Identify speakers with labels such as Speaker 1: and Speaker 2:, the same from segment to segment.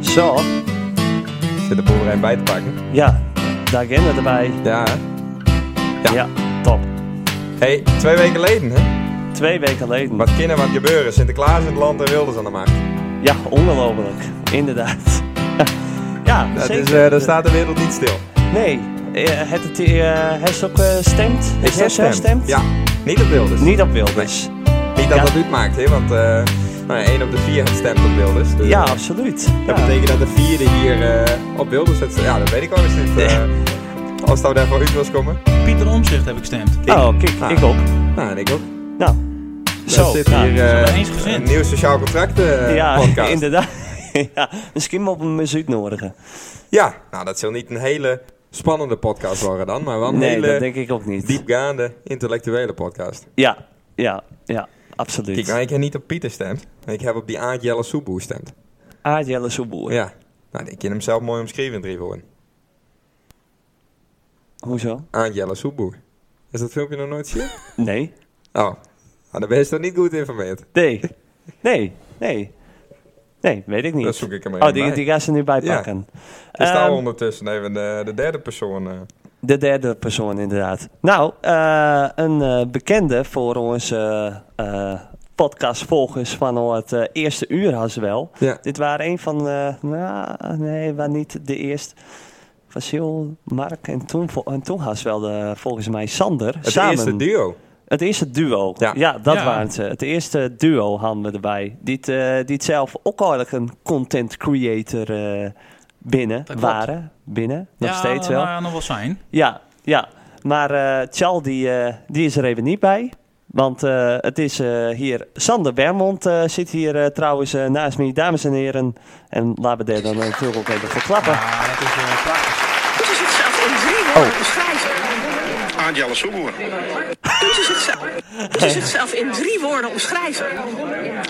Speaker 1: Zo,
Speaker 2: Zit de boerderij bij te pakken.
Speaker 1: ja, de agenda erbij.
Speaker 2: Ja. hè? Ja.
Speaker 1: Ja, top.
Speaker 2: Hey, twee weken geleden, hè?
Speaker 1: Twee weken geleden.
Speaker 2: Wat kinderen wat gebeuren. Sinterklaas in het land en Wilders aan de macht.
Speaker 1: Ja, ongelooflijk. Inderdaad. ja,
Speaker 2: Dat
Speaker 1: zeker.
Speaker 2: is, eh, daar staat de wereld niet stil.
Speaker 1: Nee, eh, het, het, eh, herstok eh, stemt. Is dat zo stemt?
Speaker 2: Ja. Niet op Wilders.
Speaker 1: Niet op Wilders.
Speaker 2: Niet dat
Speaker 1: Ja.
Speaker 2: dat uitmaakt, hè? Want eh nou, ja, één op de vier stemt op Wilders. Dus,
Speaker 1: Ja,
Speaker 2: eh,
Speaker 1: absoluut.
Speaker 2: Dat
Speaker 1: ja.
Speaker 2: betekent dat de vierde hier eh, op Wilders zit. Ja, dat weet ik wel eens niet. eh, als het nou daarvoor uit was komen.
Speaker 3: Pieter Omzicht heb ik gestemd.
Speaker 1: Oh, kijk,
Speaker 2: Ah.
Speaker 1: ik ook.
Speaker 2: Nou, en ik ook.
Speaker 1: Nou,
Speaker 2: Zo,
Speaker 1: zo.
Speaker 2: zit
Speaker 1: nou,
Speaker 2: hier
Speaker 3: zijn we
Speaker 2: eh
Speaker 3: eens gezind.
Speaker 2: een nieuw sociaal contract eh,
Speaker 1: ja,
Speaker 2: podcast.
Speaker 1: inderdaad. ja, misschien moet een muziek uitnodigen.
Speaker 2: Ja, nou dat zal niet een hele spannende podcast worden dan, maar wel een
Speaker 1: Nee, dat
Speaker 2: hele
Speaker 1: denk ik ook niet.
Speaker 2: diepgaande intellectuele podcast.
Speaker 1: Ja, ja, ja, absoluut.
Speaker 2: Kijk, nou, ik heb niet op Pieter stemd, ik heb op die Aad Jelle Soeboe stemd.
Speaker 1: Aardjelle Soeboer.
Speaker 2: Ja, nou ik kan hem zelf mooi omschrijven in drie woorden.
Speaker 1: Hoezo?
Speaker 2: Aad Jelle Soeboe. Is dat filmpje nog nooit gezien?
Speaker 1: Nee.
Speaker 2: Oh, nou, dan ben je toch niet goed informeerd.
Speaker 1: Nee. Nee. Nee. Nee, weet ik niet.
Speaker 2: Dat zoek ik hem even
Speaker 1: Oh, die,
Speaker 2: bij.
Speaker 1: die gaan ze nu
Speaker 2: Ja.
Speaker 1: bijpakken.
Speaker 2: Er staat
Speaker 1: Ehm,
Speaker 2: ondertussen even de, de derde persoon. eh.
Speaker 1: de derde persoon, inderdaad. Nou, eh, een eh, bekende voor onze eh, eh, podcastvolgers van het eh, eerste uur, had wel.
Speaker 2: Ja.
Speaker 1: Dit waren een van, eh, nou, nee, waar niet de eerste. Vasil, Mark en toen, vol- en toen had wel de, volgens mij Sander.
Speaker 2: Het
Speaker 1: samen.
Speaker 2: eerste duo.
Speaker 1: Het eerste duo.
Speaker 2: Ja.
Speaker 1: Ja, dat
Speaker 3: Ja.
Speaker 1: waren ze. Het eerste duo hadden we erbij. Die, het, eh, die het zelf ook eigenlijk een content creator eh, binnen
Speaker 3: klopt.
Speaker 1: waren. Binnen, nog
Speaker 3: ja, nou
Speaker 1: steeds wel.
Speaker 3: Ja, nog wel zijn.
Speaker 1: Ja, ja. Maar eh Tjal, die, eh, die is er even niet bij. Want eh, het is eh, hier... Sander Wermond eh, zit hier eh, trouwens eh, naast me. Dames en heren. En laten we daar dan natuurlijk ook even voor klappen.
Speaker 3: Ja, dat is eh, prachtig.
Speaker 4: Dit is hetzelfde in drie woorden beschrijven.
Speaker 5: Aandjelle Soeboer.
Speaker 4: Dit is hetzelfde. Dit is hetzelfde in drie woorden omschrijven.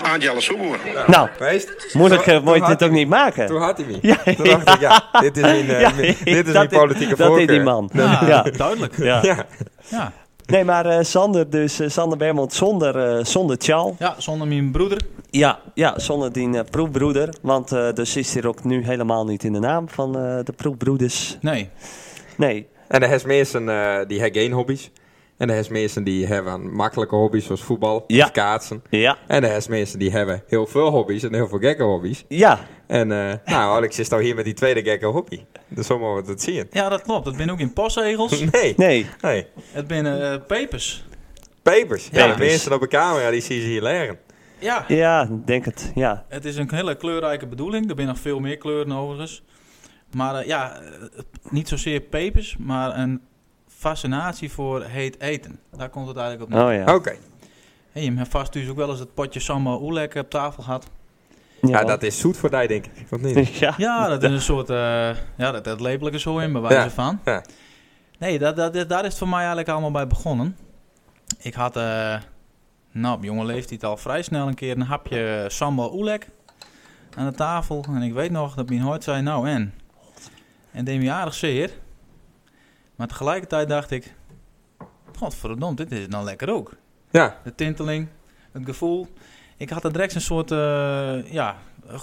Speaker 5: Aandjelle Soeboer.
Speaker 1: Nou,
Speaker 2: Wees.
Speaker 1: moeilijk eh,
Speaker 2: Toen-
Speaker 1: moet je
Speaker 2: toen
Speaker 1: dit
Speaker 2: had
Speaker 1: ook niet maken.
Speaker 2: Toen had hij me.
Speaker 1: Ja,
Speaker 2: toen dacht ik, ja, dit is mijn, eh,
Speaker 1: Ja,
Speaker 2: mijn- dit is
Speaker 1: dat
Speaker 2: mijn politieke
Speaker 1: Dat
Speaker 2: voorkeur.
Speaker 1: deed die man.
Speaker 3: Ja,
Speaker 1: Ja.
Speaker 3: duidelijk. Ja.
Speaker 1: Ja.
Speaker 2: Ja,
Speaker 3: Ja.
Speaker 1: Nee, maar eh, Sander, dus eh, Sander Bermond zonder, eh, zonder Tjal.
Speaker 3: zonder mijn broeder.
Speaker 1: Ja, ja zonder die eh, proefbroeder. Want eh dus is hier ook nu helemaal niet in de naam van eh, de proefbroeders.
Speaker 3: Nee.
Speaker 1: Nee.
Speaker 2: En de mensen eh die hebben geen hobby's. En de mensen die hebben makkelijke hobby's zoals voetbal
Speaker 1: Ja.
Speaker 2: of kaatsen.
Speaker 1: Ja.
Speaker 2: En de mensen die hebben heel veel hobby's en heel veel gekke hobby's.
Speaker 1: Ja,
Speaker 2: En eh, nou, Alex is nou hier met die tweede gekke hobby. Dus zo mogen we het zien.
Speaker 3: Ja, dat klopt. Dat ben ook in postzegels.
Speaker 2: Nee.
Speaker 1: nee.
Speaker 2: Nee.
Speaker 3: Het ben eh, pepers.
Speaker 2: Papers. Ja, de
Speaker 1: Papers.
Speaker 2: mensen op de camera, die zien ze hier leren.
Speaker 3: Ja.
Speaker 1: Ja, denk het. Ja.
Speaker 3: Het is een hele kleurrijke bedoeling. Er zijn nog veel meer kleuren overigens. Maar eh, ja, eh, niet zozeer pepers, maar een fascinatie voor heet eten. Daar komt het eigenlijk op neer.
Speaker 1: Oh ja.
Speaker 2: Oké.
Speaker 3: Hey, je hebt vast dus ook wel eens het potje sambal oelek op tafel gehad.
Speaker 2: Ja, dat is zoet voor die, denk ik. Of niet?
Speaker 1: Ja.
Speaker 3: Ja, dat is een soort, eh, ja, dat, dat lepel ik er zo in, bij wijze
Speaker 2: Ja.
Speaker 3: van.
Speaker 2: Ja.
Speaker 3: Nee, dat, dat, dat- daar is het voor mij eigenlijk allemaal bij begonnen. Ik had, eh, nou, op jonge leeftijd al vrij snel een keer een hapje eh, sambal oelek aan de tafel. En ik weet nog dat mijn hoort zei, nou en? En deed me aardig zeer. Maar tegelijkertijd dacht ik, godverdomme, dit is dan lekker ook.
Speaker 2: Ja.
Speaker 3: De tinteling, het gevoel. Ik had er direct een soort eh, ja, eh,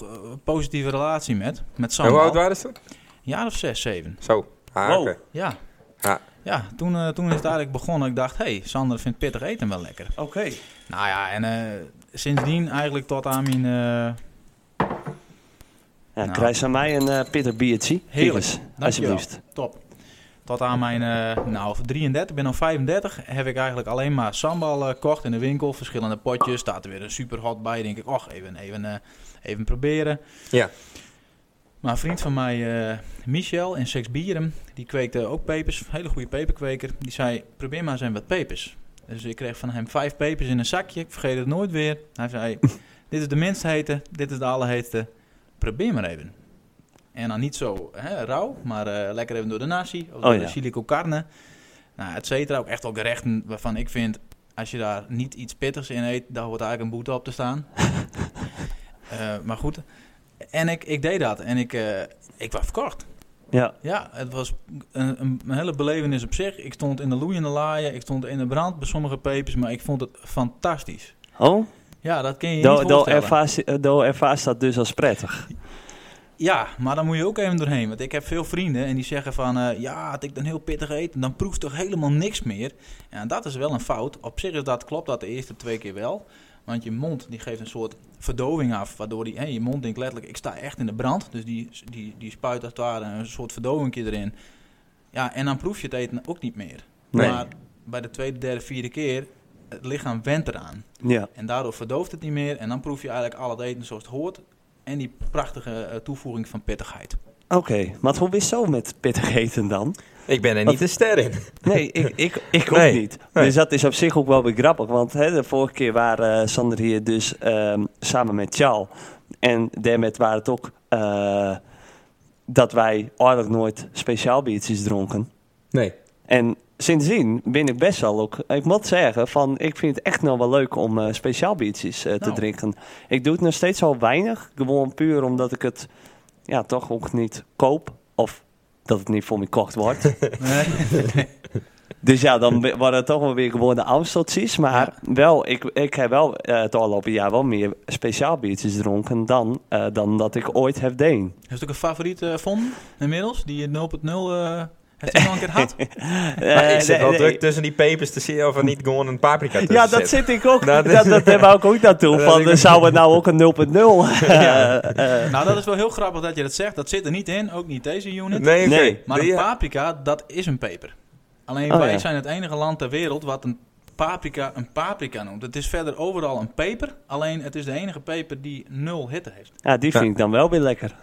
Speaker 3: positieve relatie met. Met
Speaker 2: En hoe
Speaker 3: sambal.
Speaker 2: oud waren ze toen?
Speaker 3: Een jaar of zes, zeven.
Speaker 2: Zo. Ah,
Speaker 1: Wow.
Speaker 2: oké.
Speaker 3: Ja.
Speaker 2: Ja.
Speaker 3: Ja, toen, eh, toen is het eigenlijk begonnen. Ik dacht, hey, Sander vindt pittig eten wel lekker.
Speaker 1: Oké.
Speaker 3: Nou ja, en eh, sindsdien eigenlijk tot aan mijn... eh,
Speaker 1: Ja,
Speaker 3: Nou.
Speaker 1: krijg ze aan mij een eh bitter biertje.
Speaker 3: Heerlijk.
Speaker 1: Heerlijk.
Speaker 3: Dankjewel.
Speaker 1: Alsjeblieft.
Speaker 3: Top. Tot aan mijn, eh, nou, 33, ben al 35, heb ik eigenlijk alleen maar sambal eh, gekocht in de winkel. Verschillende potjes, staat er weer een superhot bij. Denk ik, och, even, even, eh, even proberen.
Speaker 2: Ja.
Speaker 3: Maar een vriend van mij, eh, Michel in Sexbierum, die kweekte ook pepers. Een hele goede peperkweker. Die zei, probeer maar eens een wat pepers. Dus ik kreeg van hem vijf pepers in een zakje. Ik vergeet het nooit weer. Hij zei, dit is de minst hete, dit is de allerheetste. Probeer maar even. En dan niet zo hè, rauw, maar eh, lekker even door de nasi. Of door
Speaker 1: ja.
Speaker 3: de chili con carne. Nou, et cetera. Ook echt wel gerechten waarvan ik vind... als je daar niet iets pittigs in eet... daar hoort eigenlijk een boete op te staan. Eh, maar goed. En ik, ik deed dat. En ik, eh, ik was verkocht.
Speaker 1: Ja.
Speaker 3: Ja, het was een, een hele belevenis op zich. Ik stond in de loeiende laaien. Ik stond in de brand bij sommige pepers. Maar ik vond het fantastisch.
Speaker 1: Oh,
Speaker 3: Ja, dat kun je je niet
Speaker 1: dan eh,
Speaker 3: voorstellen.
Speaker 1: ervaar je dat dus als prettig.
Speaker 3: Ja, maar dan moet je ook even doorheen. Want ik heb veel vrienden en die zeggen van... eh, ja, had ik dan heel pittig eten, dan proeft toch helemaal niks meer. Ja, dat is wel een fout. Op zich is dat, klopt dat de eerste twee keer wel. Want je mond die geeft een soort verdoving af. Waardoor die, hè, je mond denkt letterlijk, ik sta echt in de brand. Dus die, die, die spuit als het ware een soort verdoving erin. Ja, en dan proef je het eten ook niet meer.
Speaker 1: Nee.
Speaker 3: Maar bij de tweede, derde, vierde keer... Het lichaam went eraan.
Speaker 1: Ja.
Speaker 3: En daardoor verdooft het niet meer. En dan proef je eigenlijk al het eten zoals het hoort. En die prachtige eh, toevoeging van pittigheid.
Speaker 1: Oké, maar hoe is zo met pittig eten dan?
Speaker 2: Ik ben er niet een ster in.
Speaker 1: Nee, ik, ik, ik ook
Speaker 2: Nee,
Speaker 1: niet.
Speaker 2: nee.
Speaker 1: Dus dat is op zich ook wel weer grappig. Want hè, de vorige keer waren eh, Sander hier dus ehm, samen met Charles. En daarmee waren het ook eh, dat wij eigenlijk nooit speciaal biertjes dronken.
Speaker 2: Nee.
Speaker 1: En sindsdien ben ik best wel ook... Ik moet zeggen, van, ik vind het echt nog wel leuk om eh, speciaal biertjes eh, te
Speaker 3: Nou.
Speaker 1: drinken. Ik doe het nog steeds al weinig. Gewoon puur omdat ik het ja, toch ook niet koop. Of dat het niet voor me kocht wordt. Dus ja, dan be- worden het toch wel weer gewoon de Amsteltjes. Maar wel, ik, ik heb wel eh, het afgelopen jaar wel meer speciaal biertjes dronken dan, eh, dan dat ik ooit heb deen.
Speaker 3: Heeft u ook een favoriet eh vond inmiddels? Die je 0.0 eh heeft hij al een keer gehad?
Speaker 2: Maar
Speaker 1: Eh,
Speaker 2: ik zit
Speaker 1: nee,
Speaker 2: wel
Speaker 1: nee.
Speaker 2: druk tussen die pepers te zien of er niet gewoon een paprika tussen
Speaker 1: Ja, dat
Speaker 2: zit. Nou,
Speaker 1: zit ik ook.
Speaker 2: Dat
Speaker 1: Dat,
Speaker 2: is-
Speaker 1: dat, wou ik ook naartoe.
Speaker 2: Dat
Speaker 1: Van,
Speaker 2: is-
Speaker 1: zou het nou ook een 0.0? Eh, eh,
Speaker 3: Nou, dat is wel heel grappig dat je dat zegt. Dat zit er niet in, ook niet deze unit.
Speaker 2: Nee, oké.
Speaker 1: Nee,
Speaker 3: Maar een
Speaker 2: Ja.
Speaker 3: paprika, dat is een peper. Alleen
Speaker 1: Oh,
Speaker 3: wij
Speaker 1: ja.
Speaker 3: zijn het enige land ter wereld wat een paprika een paprika noemt. Het is verder overal een peper. Alleen het is de enige peper die nul hitte heeft.
Speaker 1: ja, die vind ik dan wel weer lekker.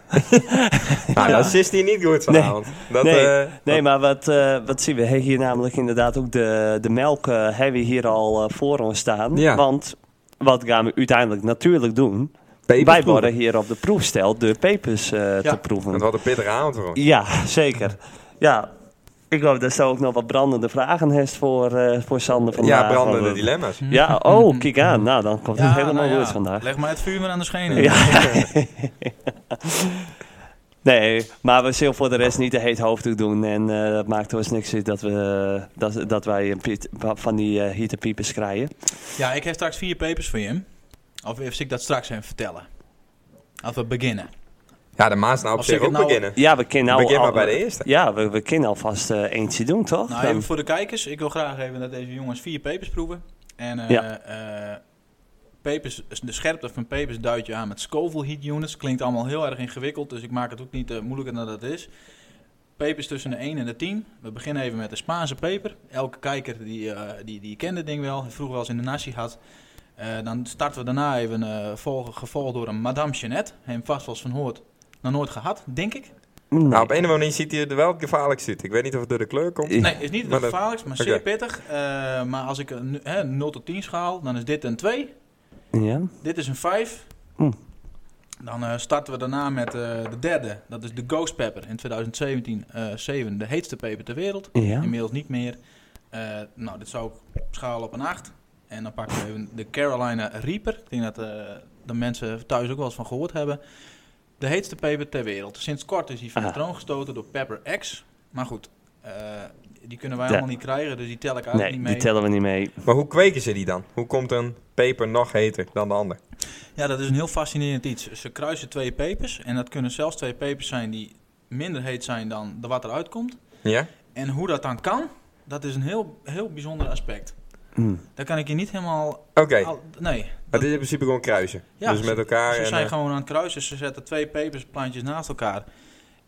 Speaker 2: Nou, dat is hier niet goed vanavond. Dat,
Speaker 1: nee,
Speaker 2: eh,
Speaker 1: nee maar wat, eh, wat zien we? Hey, Hier namelijk inderdaad ook de, de melk eh, hebben we hier al eh, voor ons staan.
Speaker 2: Ja.
Speaker 1: Want wat gaan we uiteindelijk natuurlijk doen?
Speaker 2: pepers
Speaker 1: Wij
Speaker 2: proeven.
Speaker 1: worden hier op de proefstel de pepers eh,
Speaker 3: Ja.
Speaker 1: te proeven.
Speaker 2: Dat was een pittige avond hoor.
Speaker 1: Ja, zeker. Ja, ik hoop dat ze ook nog wat brandende vragen heeft voor, eh, voor Sander vandaag.
Speaker 2: Ja, brandende
Speaker 1: Want-
Speaker 2: dilemma's.
Speaker 1: Ja, oh, kijk aan. Nou, dan komt het helemaal
Speaker 3: nou
Speaker 1: goed
Speaker 3: ja.
Speaker 1: vandaag.
Speaker 3: Leg maar het vuur maar aan de schenen.
Speaker 1: Ja. nee, maar we zullen voor de rest niet de heet hoofddoek doen. En eh, dat maakt ons niks uit dat, we, dat, dat wij een piet- van die eh hitte piepers krijgen.
Speaker 3: Ja, ik heb straks vier papers voor je. Of of zal ik dat straks even vertellen? Als we beginnen.
Speaker 2: Ja, de Maas nou op
Speaker 3: Als
Speaker 2: zich
Speaker 3: ik
Speaker 2: ook
Speaker 3: het nou-
Speaker 2: beginnen.
Speaker 1: Ja, we kennen al,
Speaker 2: Begin maar
Speaker 1: al-
Speaker 2: bij de eerste.
Speaker 1: Ja, we, we kennen alvast eh, eentje doen, toch?
Speaker 3: Nou,
Speaker 1: Dan-
Speaker 3: even voor de kijkers. Ik wil graag even dat deze jongens vier papers proeven. En eh
Speaker 1: Ja.
Speaker 3: eh, pepers, de scherpte van pepers duid je aan met Scoville heat units. Klinkt allemaal heel erg ingewikkeld, dus ik maak het ook niet eh, moeilijker dan dat het is. Pepers tussen de 1 en de 10. We beginnen even met de Spaanse peper. Elke kijker die, eh, die, die kent het ding wel, vroeger wel eens in de nasi had. Eh, dan starten we daarna even eh volgen, gevolgd door een Madame Jeannette. Hem vast wel eens van hoort, nog nooit gehad, denk ik.
Speaker 1: nee.
Speaker 2: Nou, op een of andere manier ziet hij er wel het gevaarlijk uit. Ik weet niet of het door de kleur komt.
Speaker 1: Ja.
Speaker 3: Nee, is niet
Speaker 2: Maar
Speaker 3: het
Speaker 2: dat-
Speaker 3: gevaarlijkst, maar
Speaker 2: oké.
Speaker 3: zeer pittig. Eh, maar als ik een hè, 0 tot 10 schaal, dan is dit een 2.
Speaker 1: ja.
Speaker 3: Dit is een 5.
Speaker 1: Hm.
Speaker 3: Dan eh, starten we daarna met eh, de derde. Dat is de Ghost Pepper. In 2017 eh 7 de heetste peper ter wereld.
Speaker 1: Ja.
Speaker 3: Inmiddels niet meer. Eh, nou, dit zou ik schalen op een 8. En dan pakken we even de Carolina Reaper. Ik denk dat eh, de mensen thuis ook wel eens van gehoord hebben. De heetste peper ter wereld. Sinds kort is hij van de
Speaker 1: Aha.
Speaker 3: troon gestoten door Pepper X. Maar goed, eh, die kunnen wij
Speaker 1: Ja.
Speaker 3: allemaal niet krijgen, dus die tel ik eigenlijk
Speaker 1: Nee,
Speaker 3: niet mee.
Speaker 1: die tellen we niet mee.
Speaker 2: Maar hoe kweken ze die dan? Hoe komt een peper nog heter dan de ander?
Speaker 3: Ja, dat is een heel fascinerend iets. Ze kruisen twee pepers en dat kunnen zelfs twee pepers zijn die minder heet zijn dan de wat eruit komt.
Speaker 2: Ja?
Speaker 3: En hoe dat dan kan, dat is een heel, heel bijzonder aspect.
Speaker 1: Hm.
Speaker 3: Daar kan ik je niet helemaal...
Speaker 2: Oké,
Speaker 3: al- nee.
Speaker 2: het is in principe gewoon kruisen.
Speaker 3: Oh, Ja,
Speaker 2: dus
Speaker 3: ze-
Speaker 2: met elkaar
Speaker 3: Ze
Speaker 2: en...
Speaker 3: zijn
Speaker 2: eh,
Speaker 3: gewoon aan het kruisen. Ze zetten twee pepersplantjes naast elkaar.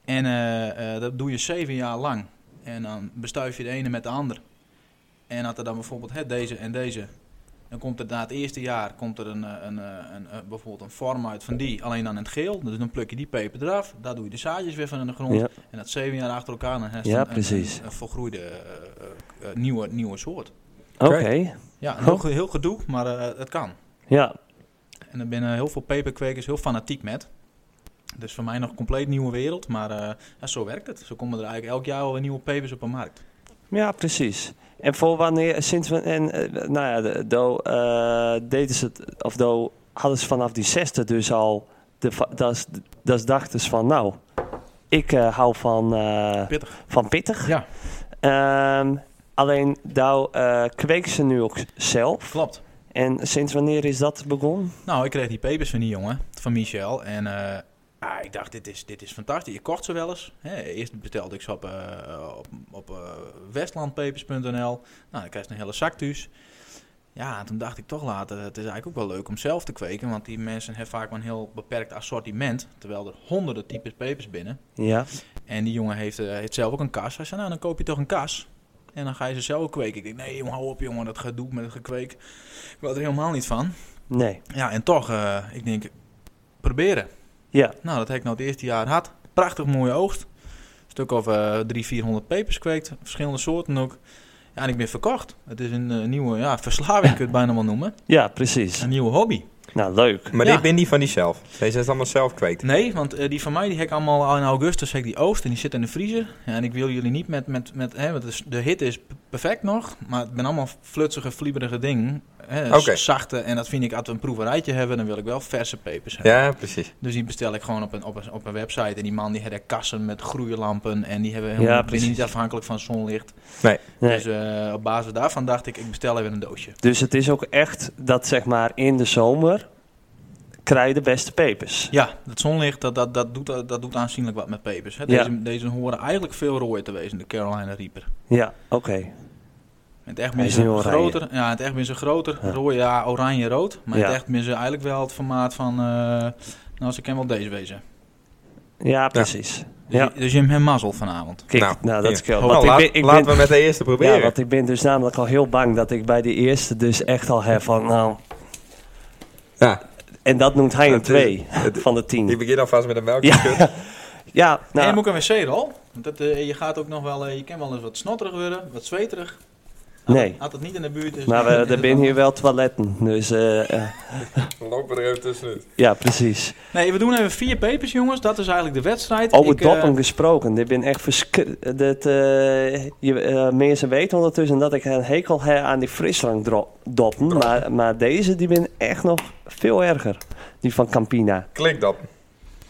Speaker 3: En eh, eh, dat doe je zeven jaar lang. En dan bestuif je de ene met de ander. En had er dan bijvoorbeeld hè, deze en deze. Dan komt er na het eerste jaar komt er een, eh, een, eh, een, eh, bijvoorbeeld een vorm uit van die. Alleen dan in het geel. Dus dan pluk je die peper eraf. Daar doe je de zaadjes weer van in de grond.
Speaker 1: Ja.
Speaker 3: En dat zeven jaar achter elkaar. Dan heeft
Speaker 1: Ja,
Speaker 3: een, een,
Speaker 1: precies.
Speaker 3: een, een volgroeide eh, eh, eh, nieuwe, nieuwe soort.
Speaker 1: Oké.
Speaker 3: Ja,
Speaker 1: Oh.
Speaker 3: een heel, ge- heel gedoe, maar eh, het kan.
Speaker 1: Ja,
Speaker 3: En er binnen heel veel peperkwekers heel fanatiek met. Dus voor mij nog een compleet nieuwe wereld. Maar eh, ja, zo werkt het. Zo komen er eigenlijk elk jaar weer nieuwe pepers op de markt.
Speaker 1: ja, precies. En voor wanneer, sinds we, en, eh, nou ja, de- do, eh, deden ze het, of do, hadden ze vanaf die zesde dus al, de va- dat is- dat is dachten ze van, nou, ik eh, hou van, eh,
Speaker 3: Pittig.
Speaker 1: van pittig.
Speaker 3: Ja,
Speaker 1: Ehm, alleen, nou, eh kweek ze nu ook zelf.
Speaker 3: klopt.
Speaker 1: En sinds wanneer is dat begonnen?
Speaker 3: Nou, ik kreeg die pepers van die jongen, van Michel. En eh, ah, ik dacht, dit is, dit is fantastisch. Ik kocht ze wel eens. Hè, eerst bestelde ik ze op, eh, op, op eh, westlandpepers.nl. Nou, dan krijg je een hele zak thuis. Ja, en toen dacht ik toch later, het is eigenlijk ook wel leuk om zelf te kweken. Want die mensen hebben vaak maar een heel beperkt assortiment. Terwijl er honderden types pepers binnen.
Speaker 1: Ja.
Speaker 3: En die jongen heeft, eh, heeft zelf ook een kas. Hij zei, nou, dan koop je toch een kas. En dan ga je ze zelf kweken. Ik denk, nee, jongen, hou op, jongen, dat gedoe met het gekweek. Ik wou er helemaal niet van.
Speaker 1: Nee.
Speaker 3: Ja, en toch, eh, ik denk, proberen.
Speaker 1: Ja.
Speaker 3: Nou, dat heb ik nou het eerste jaar gehad. Prachtig mooie oogst. Een stuk of eh 300, 400 pepers kweekt. Verschillende soorten ook. Ja, en ik ben verkocht. Het is een eh, nieuwe ja, verslaving, kun je het bijna wel noemen.
Speaker 1: Ja, precies.
Speaker 3: Een nieuwe hobby.
Speaker 1: Nou, leuk.
Speaker 2: Maar
Speaker 3: Ja.
Speaker 2: dit ben niet van die zelf. Deze is allemaal zelf kweekt.
Speaker 3: Nee, want eh, die van mij die heb ik allemaal al in augustus heb ik die oost en die zit in de vriezer. Ja, en ik wil jullie niet met, met, met hè, want het is- de hitte is p- perfect nog, maar het zijn allemaal flutsige, flieberige dingen. Hè, s-
Speaker 2: Oké.
Speaker 3: Zachte, en dat vind ik, als we een proeverijtje hebben, dan wil ik wel verse pepers hebben.
Speaker 2: Ja, precies.
Speaker 3: Dus die bestel ik gewoon op een, op een, op een website en die man die heeft kassen met groeilampen en die hebben
Speaker 1: Ja,
Speaker 3: helemaal, die zijn
Speaker 1: precies.
Speaker 3: niet afhankelijk van zonlicht.
Speaker 1: Nee.
Speaker 3: Dus eh, op basis daarvan dacht ik, ik bestel even een doosje.
Speaker 1: Dus het is ook echt dat zeg maar in de zomer krijg je de beste pepers.
Speaker 3: Ja, dat zonlicht dat, dat, dat, doet, dat doet aanzienlijk wat met pepers. Hè.
Speaker 1: Ja.
Speaker 3: Deze, deze horen eigenlijk veel rooier te wezen, de Carolina Reaper.
Speaker 1: Ja, oké.
Speaker 3: In het echt
Speaker 1: Hij
Speaker 3: ben
Speaker 1: is
Speaker 3: ze
Speaker 1: nu oranje.
Speaker 3: groter. Ja, in het echt ben ze groter.
Speaker 1: Ja.
Speaker 3: Rooi, ja, oranje, rood. Maar in
Speaker 1: Ja.
Speaker 3: het echt ben ze eigenlijk wel het formaat van... eh nou, ze kennen wel deze wezen.
Speaker 1: Ja, precies.
Speaker 3: Dus,
Speaker 1: Ja.
Speaker 3: je, dus je hebt hem mazzel vanavond.
Speaker 1: Kijk, nou,
Speaker 2: Nou,
Speaker 1: dat
Speaker 2: hier.
Speaker 1: scheelt.
Speaker 3: Oh,
Speaker 2: Nou,
Speaker 1: Want ik
Speaker 2: laat-
Speaker 1: ben- ik
Speaker 2: laten
Speaker 1: ben-
Speaker 2: we met de eerste proberen.
Speaker 1: Ja, want ik ben dus namelijk al heel bang dat ik bij de eerste dus echt al heb van, nou...
Speaker 2: Ja,
Speaker 1: En dat noemt hij een
Speaker 2: Het is-
Speaker 1: 2
Speaker 2: het-
Speaker 1: van de
Speaker 2: ik
Speaker 1: 10.
Speaker 2: begin alvast met een melkje.
Speaker 1: Ja, ja
Speaker 3: En je
Speaker 1: nou,
Speaker 3: moet ook een wc-rol. Want dat, eh, je gaat ook nog wel... eh, je kan wel eens wat snotterig worden, wat zweterig.
Speaker 1: nee.
Speaker 3: Had het niet in de buurt... dus- is-
Speaker 1: Maar we,
Speaker 3: is het
Speaker 1: er
Speaker 3: wel-
Speaker 1: zijn hier wel toiletten, dus eh, eh,
Speaker 2: Loop er even tussenuit.
Speaker 1: ja, precies.
Speaker 3: Nee, we doen even vier papers, jongens. Dat is eigenlijk de wedstrijd.
Speaker 1: Over
Speaker 3: Ik, eh,
Speaker 1: doppen gesproken, ik ben echt verschrikkelijk. Dat eh, je, eh, mensen weten ondertussen dat ik een hekel heb aan die frisdrankdoppen, maar, maar deze die ben echt nog veel erger, die van Campina.
Speaker 2: Klik dat.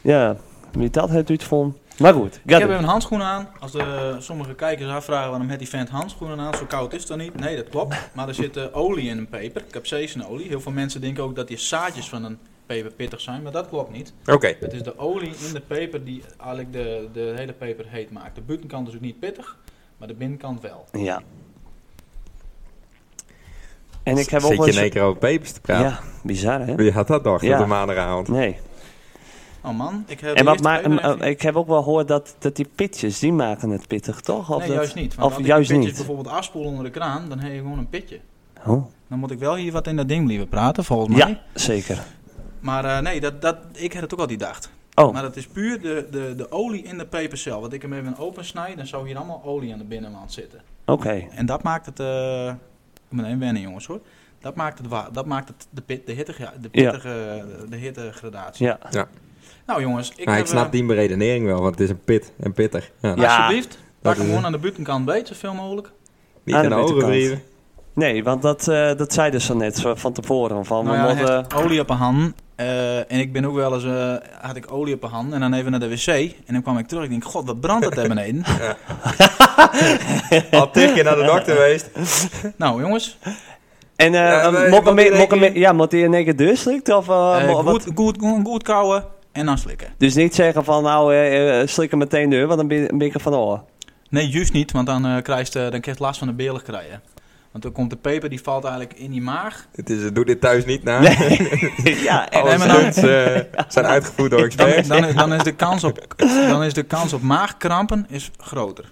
Speaker 1: Ja, wie dat het uitvond. Maar goed,
Speaker 3: Ik
Speaker 1: gaat
Speaker 3: heb
Speaker 1: ie.
Speaker 3: even handschoenen aan. Als de, sommige kijkers afvragen waarom heeft die vent handschoenen aan, zo koud is het dan niet. Nee, dat klopt. Maar er zit eh, olie in een peper, capsaicinolie. Heel veel mensen denken ook dat die zaadjes van een peper pittig zijn, maar dat klopt niet.
Speaker 2: Oké.
Speaker 3: Het is de olie in de peper die eigenlijk de, de hele peper heet maakt. De buitenkant is ook niet pittig, maar de binnenkant wel.
Speaker 1: Ja. En ik heb
Speaker 2: Zit
Speaker 1: ook wel
Speaker 2: je in één
Speaker 1: eens...
Speaker 2: keer over pepers te praten?
Speaker 1: Ja, bizar hè?
Speaker 2: Wie had dat nog
Speaker 1: Ja.
Speaker 2: op de maandagavond?
Speaker 1: Nee.
Speaker 3: Oh man, ik heb
Speaker 1: En
Speaker 3: de
Speaker 1: wat
Speaker 3: eerste
Speaker 1: maar,
Speaker 3: peper even-
Speaker 1: ik heb ook wel gehoord dat, dat die pitjes, die maken het pittig, toch? Of
Speaker 3: Nee,
Speaker 1: dat-
Speaker 3: juist niet. Want
Speaker 1: Of
Speaker 3: als
Speaker 1: juist
Speaker 3: ik de pitjes
Speaker 1: niet.
Speaker 3: bijvoorbeeld afspoel onder de kraan, dan heb je gewoon een pitje.
Speaker 1: Oh,
Speaker 3: Dan moet ik wel hier wat in dat ding blijven praten, volgens mij.
Speaker 1: Ja, zeker.
Speaker 3: Maar eh, nee, dat, dat, ik heb het ook al die dacht.
Speaker 1: Oh,
Speaker 3: Maar dat is puur de, de, de olie in de pepercel. Want ik hem even open snij, dan zou hier allemaal olie aan de binnenwand zitten.
Speaker 1: oké.
Speaker 3: En dat maakt het... eh ik moet even wennen jongens hoor. Dat maakt, het, wa- dat maakt het de, pit, de, hittige, de, pittige, de hittegradatie.
Speaker 1: Ja.
Speaker 3: Nou jongens, ik
Speaker 2: Maar
Speaker 3: heb...
Speaker 2: ik snap
Speaker 3: eh,
Speaker 2: die beredenering wel, want het is een pit en pittig. Ja,
Speaker 1: Ja.
Speaker 3: Alsjeblieft, pak
Speaker 2: Dat
Speaker 3: hem
Speaker 2: is-
Speaker 3: gewoon aan de buitenkant beet, zoveel mogelijk.
Speaker 2: Niet
Speaker 1: Aan
Speaker 2: in
Speaker 1: de
Speaker 2: de oren
Speaker 1: buitenkant.
Speaker 2: wrieven.
Speaker 1: Nee, want dat, eh, dat zei dus zo net zo van tevoren. Van,
Speaker 3: Nou
Speaker 1: we
Speaker 3: ja, hij
Speaker 1: moeten...
Speaker 3: heeft olie op een hand. eh, en ik ben ook wel eens, eh, had ik olie op een hand en dan even naar de wc. En dan kwam ik terug en ik denk, god, wat brandt het daar beneden.
Speaker 2: Al tig keer naar de dokter geweest.
Speaker 3: nou jongens,
Speaker 1: En
Speaker 2: Ja,
Speaker 1: eh
Speaker 2: nee,
Speaker 1: mokken
Speaker 2: moet
Speaker 1: mee-
Speaker 2: die
Speaker 1: mokken mee-
Speaker 2: rekening-
Speaker 1: ja, moet hij in één keer deurslikt? Of, eh,
Speaker 3: eh,
Speaker 1: mo- wat-
Speaker 3: goed, goed, goed, goed kouwen en dan slikken.
Speaker 1: Dus niet zeggen van nou, eh, eh, slik hem meteen deur, want dan ben ben ik er van oor.
Speaker 3: Nee, juist niet, want dan, eh krijg je, dan krijg je last van de belig krijgen. Want dan komt de peper, die valt eigenlijk in die maag.
Speaker 2: Het is, doe dit thuis niet na.
Speaker 1: ja, en-
Speaker 2: Alle
Speaker 3: Nee, maar dan-
Speaker 2: studs eh, zijn uitgevoerd door
Speaker 3: Dan,
Speaker 2: experts.
Speaker 3: dan, is- dan, is de kans op, dan is de kans op maagkrampen is groter.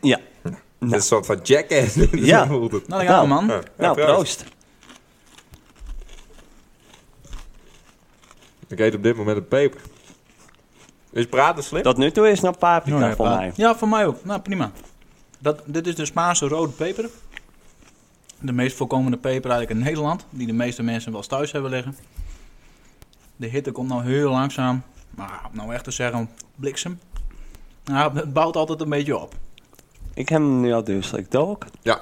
Speaker 1: ja.
Speaker 2: Het is een soort van jackass. Dus
Speaker 1: Ja.
Speaker 2: voelt het.
Speaker 3: Nou, daar gaan we,
Speaker 1: Nou.
Speaker 3: man.
Speaker 1: Nou, proost.
Speaker 2: Ik eet op dit moment een peper. Is praten slim?
Speaker 1: Tot nu toe is nog paprika
Speaker 3: Nou Ja,
Speaker 1: nou voor mij.
Speaker 3: Ja, voor mij ook. Nou, prima. Dat, dit is de Spaanse rode peper. De meest voorkomende peper eigenlijk in Nederland. Die de meeste mensen wel eens thuis hebben liggen. De hitte komt nou heel langzaam. Maar om nou echt te zeggen, bliksem. Nou, het bouwt altijd een beetje op.
Speaker 1: dus, Ik heb hem nu al deurslikt ook.
Speaker 2: Ja.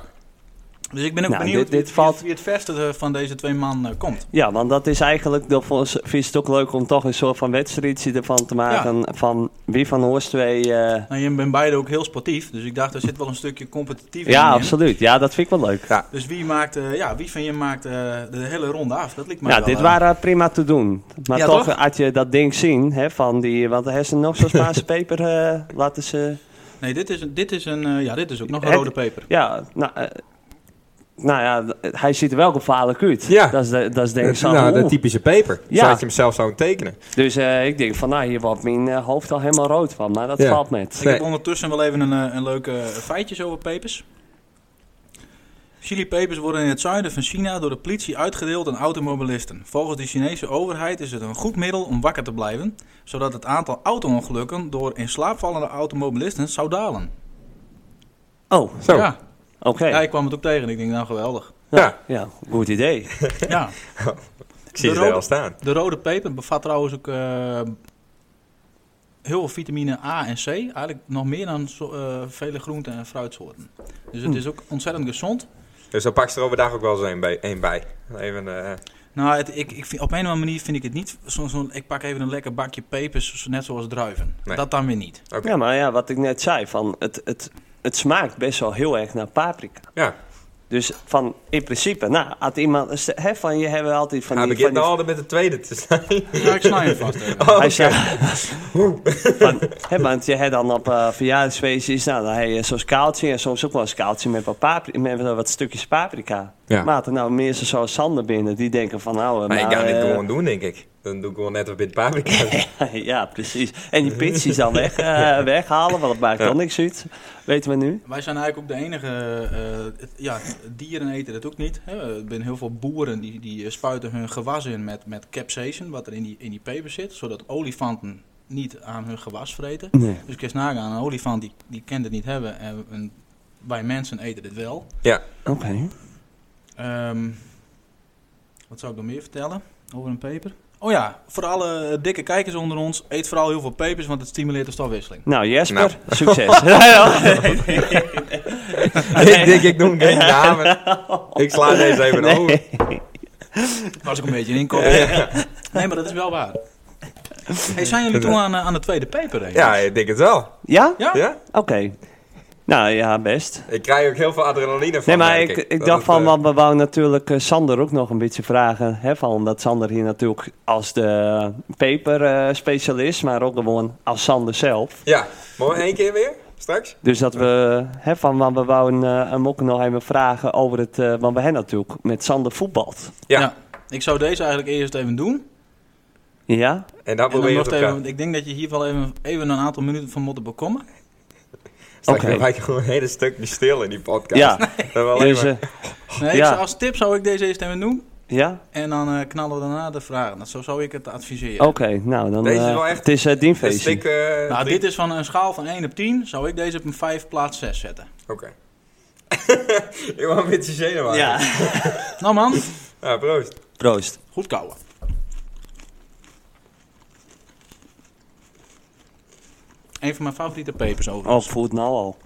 Speaker 3: Dus ik ben ook
Speaker 1: Nou,
Speaker 3: benieuwd
Speaker 1: dit- dit
Speaker 3: wie,
Speaker 1: valt-
Speaker 3: wie het verste eh, van deze twee man eh, komt.
Speaker 1: Ja, want dat is eigenlijk, dat vond- vind je het ook leuk om toch een soort van wedstrijdje ervan te maken. Van wie van Horst twee. eh,
Speaker 3: Nou, je bent beide ook heel sportief, dus ik dacht er zit wel een stukje competitief in.
Speaker 1: ja, absoluut. Ja, dat vind ik wel leuk.
Speaker 2: Ja.
Speaker 3: Dus wie, maakt, eh, ja, wie van je maakt eh, de hele ronde af? Dat liep me
Speaker 1: Ja,
Speaker 3: wel,
Speaker 1: dit
Speaker 3: eh,
Speaker 1: waren prima te doen. Maar
Speaker 3: Ja,
Speaker 1: toch
Speaker 3: toch?
Speaker 1: had je dat ding zien, hè, van die, want hij is er nog zo'n Spaanse peper eh, laten ze...
Speaker 3: Nee, dit is, een- dit is, een, eh, ja, dit is ook nog een
Speaker 1: Het-
Speaker 3: rode peper.
Speaker 1: Ja, nou, eh, nou ja, d- hij ziet er wel gevaarlijk uit.
Speaker 2: Ja.
Speaker 1: Dat is, de, dat is denk ik zo.
Speaker 2: nou,
Speaker 1: oeh.
Speaker 2: de typische peper.
Speaker 1: Ja.
Speaker 2: Zou ik hem zelf zou tekenen.
Speaker 1: Dus eh, ik denk van, nou, hier wordt mijn eh, hoofd al helemaal rood van. Maar dat
Speaker 2: Ja.
Speaker 1: valt met.
Speaker 3: Ik
Speaker 2: Nee.
Speaker 3: heb ondertussen wel even een, eh, een leuke feitjes over pepers. Chilipepers worden in het zuiden van China door de politie uitgedeeld aan automobilisten. Volgens de Chinese overheid is het een goed middel om wakker te blijven, zodat het aantal auto-ongelukken door in slaap vallende automobilisten zou dalen.
Speaker 1: Oh,
Speaker 2: Zo. Ja.
Speaker 3: Ja.
Speaker 1: oké.
Speaker 3: ja, ik kwam het ook tegen. Ik denk, nou geweldig.
Speaker 1: Ja, goed idee.
Speaker 3: Ja.
Speaker 2: Ik zie
Speaker 3: De
Speaker 2: het er
Speaker 3: rode-
Speaker 2: al staan.
Speaker 3: De rode peper bevat trouwens ook eh, heel veel vitamine A en C. Eigenlijk nog meer dan zo- eh, vele groenten en fruitsoorten. Dus het is ook ontzettend gezond.
Speaker 2: Dus dan pak je er overdag ook wel eens een bij. Een bij. Even, eh,
Speaker 3: Nou, het, ik, ik vind, op een of andere manier vind ik het niet. Zo, zo, ik pak even een lekker bakje pepers, zo- net zoals druiven.
Speaker 2: Nee.
Speaker 3: Dat dan weer niet.
Speaker 2: oké.
Speaker 1: Ja, maar ja, wat ik net zei, van, het, het, het smaakt best wel heel erg naar paprika.
Speaker 2: Ja.
Speaker 1: Dus van, in principe, nou, had iemand, hè, van, je hebben altijd van
Speaker 2: Hij
Speaker 1: die... Van
Speaker 2: begint
Speaker 1: die
Speaker 2: nou altijd met de tweede te Oh, zijn.
Speaker 3: Nou, ik snij hem vast even.
Speaker 1: Hij zei, van, hè, want je hebt dan op eh verjaardagsfeestjes, nou, dan heb je zo'n skaaltje en soms ook wel een skaaltje met wat, papri- met wel wat stukjes paprika.
Speaker 2: Ja.
Speaker 1: Maar er nou mensen zoals Sander binnen, die denken van nou... eh,
Speaker 2: Maar ik ga dit
Speaker 1: eh,
Speaker 2: gewoon doen, denk ik. Dan doe ik gewoon net een bit paprika.
Speaker 1: ja, precies. En die pitjes dan weg, eh, weghalen, want dat maakt dan niks uit. Weten we nu.
Speaker 3: Wij zijn eigenlijk ook de enige, eh, het- ja, dieren eten dat ook niet. Hè. Er zijn heel veel boeren die, die eh, spuiten hun gewas in met, met capsaicin, wat er in die, in die peper zit, zodat olifanten niet aan hun gewas vreten.
Speaker 1: Nee.
Speaker 3: Dus kun je eens nagaan, een olifant die, die kan dit niet hebben en, en wij mensen eten dit wel.
Speaker 2: ja.
Speaker 1: Oké.
Speaker 3: Ehm, wat zou ik nog meer vertellen over een peper? Oh ja, voor alle eh, dikke kijkers onder ons, eet vooral heel veel pepers, want het stimuleert de stofwisseling.
Speaker 1: Nou, Jesper,
Speaker 2: Nou.
Speaker 1: succes. Ja, ja.
Speaker 2: ik denk, ik noem geen namen. Ik sla deze even over.
Speaker 3: Was ik een beetje in kop. Nee, maar dat is wel waar. Hey, zijn jullie toe aan, eh, aan de tweede peper? denk ik?
Speaker 2: Ja, ik denk het wel.
Speaker 1: ja?
Speaker 3: Ja?
Speaker 2: Ja?
Speaker 1: Oké. Nou ja, best.
Speaker 2: Ik krijg ook heel veel adrenaline van.
Speaker 1: Nee, maar
Speaker 2: merk
Speaker 1: ik, ik,
Speaker 2: Dat
Speaker 1: dacht
Speaker 2: het,
Speaker 1: van,
Speaker 2: eh,
Speaker 1: want we wou natuurlijk eh, Sander ook nog een beetje vragen. Hè, van, dat Sander hier natuurlijk als de paper-specialist, maar ook gewoon als Sander zelf.
Speaker 2: Ja, mooi. Eén keer weer? Straks?
Speaker 1: Dus dat we, hè, van, want we wouden eh hem ook nog even vragen over het, eh, want we hebben natuurlijk met Sander voetbald.
Speaker 2: Ja.
Speaker 3: Ik zou deze eigenlijk eerst even doen.
Speaker 1: Ja?
Speaker 2: En dan
Speaker 3: En dan
Speaker 2: probeer je
Speaker 3: nog
Speaker 2: het
Speaker 3: even,
Speaker 2: elkaar.
Speaker 3: want ik denk dat je hier wel even, even een aantal minuten van moet bekomen.
Speaker 2: Straks
Speaker 1: Oké.
Speaker 2: ben ik gewoon een hele stukje stil in die podcast.
Speaker 1: Ja.
Speaker 2: Dan wel
Speaker 1: Dus,
Speaker 2: even-
Speaker 1: eh,
Speaker 3: Nee, ik
Speaker 1: Ja.
Speaker 3: zou- als tip zou ik deze eerst even doen.
Speaker 1: ja?
Speaker 3: En dan eh, knallen we daarna de vragen. Dat, zo zou ik het adviseren.
Speaker 1: Oké, nou dan.
Speaker 2: Deze is
Speaker 1: eh,
Speaker 2: wel echt
Speaker 1: het is eh
Speaker 2: een
Speaker 1: dienfeestje.
Speaker 2: stuk... eh,
Speaker 3: Nou,
Speaker 2: drie-
Speaker 3: dit is van een schaal van 1 op 10. Zou ik deze op een 5 plaats 6 zetten.
Speaker 2: Oké. ik wou een beetje zenuwachtig.
Speaker 1: Ja.
Speaker 3: Nou man,
Speaker 2: Ja, proost.
Speaker 1: Proost.
Speaker 3: goed kouwen. Een van mijn favoriete pepers
Speaker 1: Oh,
Speaker 3: overigens.
Speaker 1: voelt nou al.